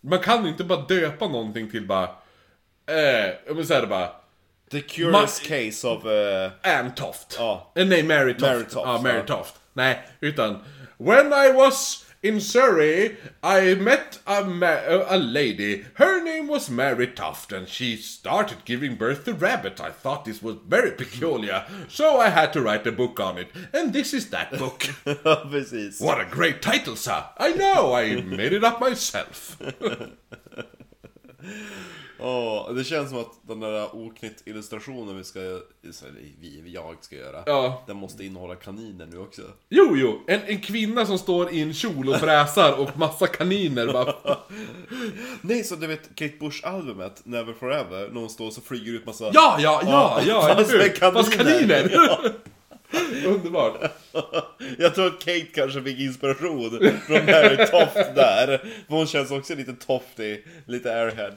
Speaker 1: man kan inte bara döpa någonting till bara... Eh, jag vill säga det bara...
Speaker 2: The Curious Case of... eh,
Speaker 1: Ann Toft.
Speaker 2: Ja.
Speaker 1: Eh, nej, Mary Toft.
Speaker 2: Mary Toft,
Speaker 1: ja, Mary
Speaker 2: ja.
Speaker 1: Toft. Nej, utan... When I was in Surrey I met a, ma- a lady. Her name was Mary Toft and she started giving birth to rabbits. I thought this was very peculiar. So I had to write a book on it. And this is that
Speaker 2: <laughs>
Speaker 1: book.
Speaker 2: <laughs> Ja, precis.
Speaker 1: What a great title, sir! I know, I made it up myself.
Speaker 2: Åh, det känns som att den där oknytt illustrationen vi ska... Eller vi, jag ska göra.
Speaker 1: Ja.
Speaker 2: Den måste innehålla kaniner nu också.
Speaker 1: Jo, jo, en, en kvinna som står i en kjol och fräsar och massa kaniner bara...
Speaker 2: Nej, så du vet Kate Bush-albumet, Never Forever, när hon står och så flyger ut massa...
Speaker 1: Ja, ja, ja, <laughs> ja,
Speaker 2: fast
Speaker 1: eller hur?
Speaker 2: med kaniner.
Speaker 1: Fast kaniner! <laughs> Underbart.
Speaker 2: Jag tror att Kate kanske fick inspiration från Mary Toft där. För hon känns också lite toftig, lite airhead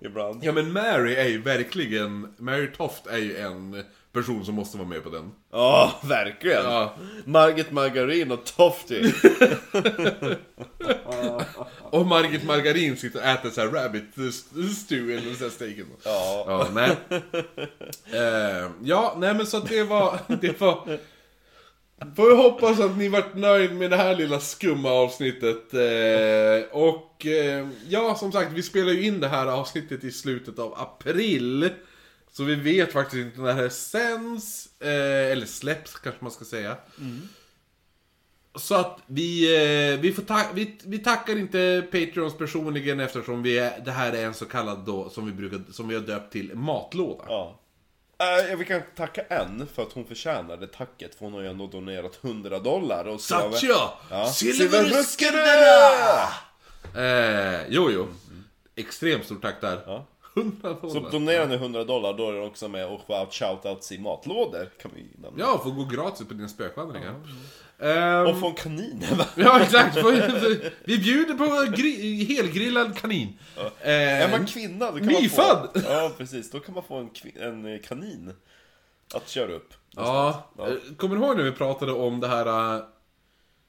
Speaker 2: ibland.
Speaker 1: Ja men Mary är ju verkligen, Mary Toft är ju en person som måste vara med på den.
Speaker 2: Ja, verkligen!
Speaker 1: Ja.
Speaker 2: Margit Margarin och Tofty.
Speaker 1: Och Margit Margarin sitter och äter så här rabbit stew eller så här steken.
Speaker 2: Ja.
Speaker 1: Ja, nej. Eh, ja, nej men så att det var, <laughs> det var... Får vi hoppas att ni vart nöjd med det här lilla skumma avsnittet. Eh, och eh, ja, som sagt, vi spelar ju in det här avsnittet i slutet av april. Så vi vet faktiskt inte när det här sänds, eh, eller släpps kanske man ska säga. Så att vi, eh, vi, får ta- vi, vi tackar inte Patreons personligen eftersom vi är, det här är en så kallad då, som vi, brukar, som vi har döpt till matlåda.
Speaker 2: ja. Eh, Jag vi kan tacka en för att hon förtjänar det tacket för hon har ju ändå donerat 100 dollar och så
Speaker 1: Satya!
Speaker 2: Ja.
Speaker 1: Silverruskarna! Eh, jo, jo. Extremt stort tack där.
Speaker 2: Ja.
Speaker 1: 100
Speaker 2: Så
Speaker 1: dollar.
Speaker 2: donerar ni 100 dollar då är det också med och får shoutout i matlådor kan vi ju nämna.
Speaker 1: Ja, får gå gratis på dina spökvandringar. Ehm,
Speaker 2: Och från kaniner va?
Speaker 1: <laughs> ja, exakt. Får- Vi bjuder på gri- helgrillad kanin.
Speaker 2: Är
Speaker 1: Eh,
Speaker 2: man kvinna då kan
Speaker 1: Nyfödd!
Speaker 2: man få... Ja precis, då kan man få en, kvi- en eh, kanin Att köra upp.
Speaker 1: Ja, eh, kommer du ihåg när vi pratade om det här eh,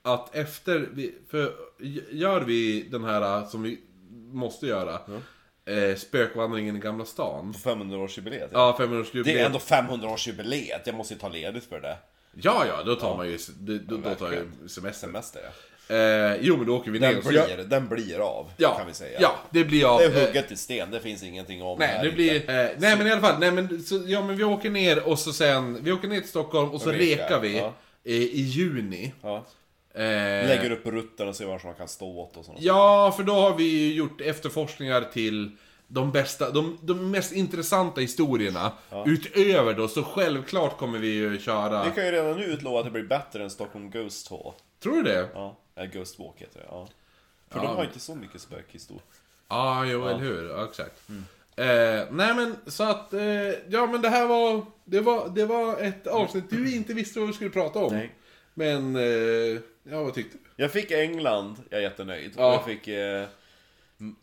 Speaker 1: att efter, vi, för g- gör vi den här eh, som vi måste göra, eh, spökvandringen i Gamla stan.
Speaker 2: På 500-årsjubileet.
Speaker 1: Ja, 500-årsjubileet.
Speaker 2: Det är ändå 500-årsjubileet, jag måste ju ta ledigt för det.
Speaker 1: Ja, ja, då tar man ju, det- då, då tar jag ju
Speaker 2: Verkligen.
Speaker 1: semester.
Speaker 2: Semester ja.
Speaker 1: Eh, jo, men då åker vi ner.
Speaker 2: Den,
Speaker 1: så jag-
Speaker 2: blir, den blir av,
Speaker 1: ja,
Speaker 2: kan vi säga.
Speaker 1: Ja, det blir av.
Speaker 2: Det är
Speaker 1: eh,
Speaker 2: hugget i sten, det finns ingenting om
Speaker 1: Nej,
Speaker 2: här
Speaker 1: det blir...
Speaker 2: inte.
Speaker 1: Eh, nej men i alla fall, nej men, så, ja men vi åker ner och så sen, vi åker ner till Stockholm och så
Speaker 2: Rekar,
Speaker 1: rekar vi
Speaker 2: ja.
Speaker 1: eh, i juni.
Speaker 2: Ja.
Speaker 1: Eh,
Speaker 2: Lägger upp rutten och ser var som man kan stå åt och sånt.
Speaker 1: Ja, för då har vi ju gjort efterforskningar till de bästa, de, de mest intressanta historierna. Utöver då, så självklart kommer vi ju köra...
Speaker 2: Vi kan ju redan nu utlova att det blir bättre än Stockholm Ghost Hall.
Speaker 1: Tror du det? Ja,
Speaker 2: Ja, eller Ghost Walk heter det. Ja. För de har ju inte så mycket spökhistoria.
Speaker 1: jo, eller hur? Ja, exakt.
Speaker 2: Mm.
Speaker 1: Eh, nej men, så att... Eh, ja men det här var... Det var, det var ett avsnitt du inte visste vad vi skulle prata om.
Speaker 2: Nej.
Speaker 1: Men, eh, ja vad tyckte du?
Speaker 2: Jag fick England, jag är jättenöjd.
Speaker 1: Ja.
Speaker 2: Och jag fick... Eh, m-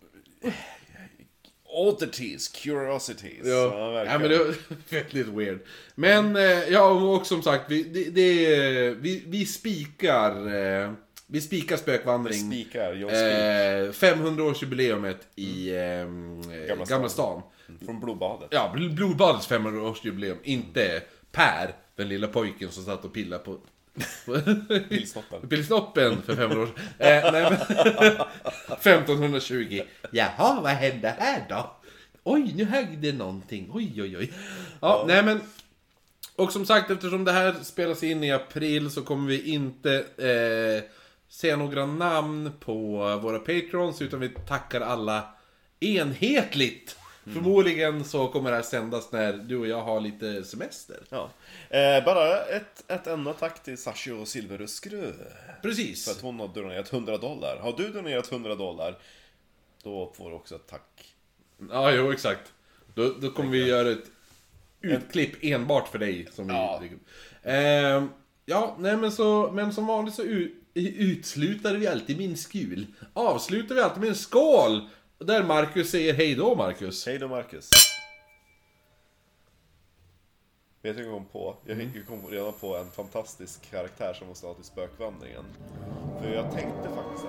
Speaker 2: oddities, curiosities.
Speaker 1: Ja,
Speaker 2: verkligen.
Speaker 1: ja men det var <laughs> väldigt weird. Men eh, ja, och som sagt, vi, det, det, är- vi, vi spikar eh, vi spikar spökvandring.
Speaker 2: Spikar, jag skriver.
Speaker 1: eh, 500-årsjubileumet i eh, Gamla stan.
Speaker 2: Gamla stan. Från Blodbadet.
Speaker 1: Ja, Bl- Blodbadets 500-årsjubileum, inte Per, den lilla pojken som satt och pillade på... <laughs>
Speaker 2: Pilsnoppen.
Speaker 1: Pilsnoppen för 500 år sedan. eh, nej, men, <laughs> 1520. Jaha, vad hände här då? Oj, nu hängde någonting. Oj, oj, oj. Ja, nej men. Och som sagt, eftersom det här spelas in i april så kommer vi inte eh, se några namn på våra patrons, utan vi tackar alla enhetligt. Förmodligen så kommer det här sändas när du och jag har lite semester.
Speaker 2: Ja. Eh, bara ett, ett enda tack till Sashi och Silveruskrö.
Speaker 1: Precis.
Speaker 2: För att hon har donerat 100 dollar. Har du donerat 100 dollar, då får du också ett tack.
Speaker 1: Ja, jo exakt. Då, då kommer vi göra ett utklipp enbart för dig. Som
Speaker 2: Ja.
Speaker 1: vi, Ehm, ja, nej men så, men som vanligt så u- utslutar vi alltid min skul. Avslutar vi alltid med en skål! Där Marcus säger hej då Marcus.
Speaker 2: Hej då Marcus. Vet du vad jag kom på? Jag jag kom redan på en fantastisk karaktär som måste ha till spökvandringen. För jag tänkte faktiskt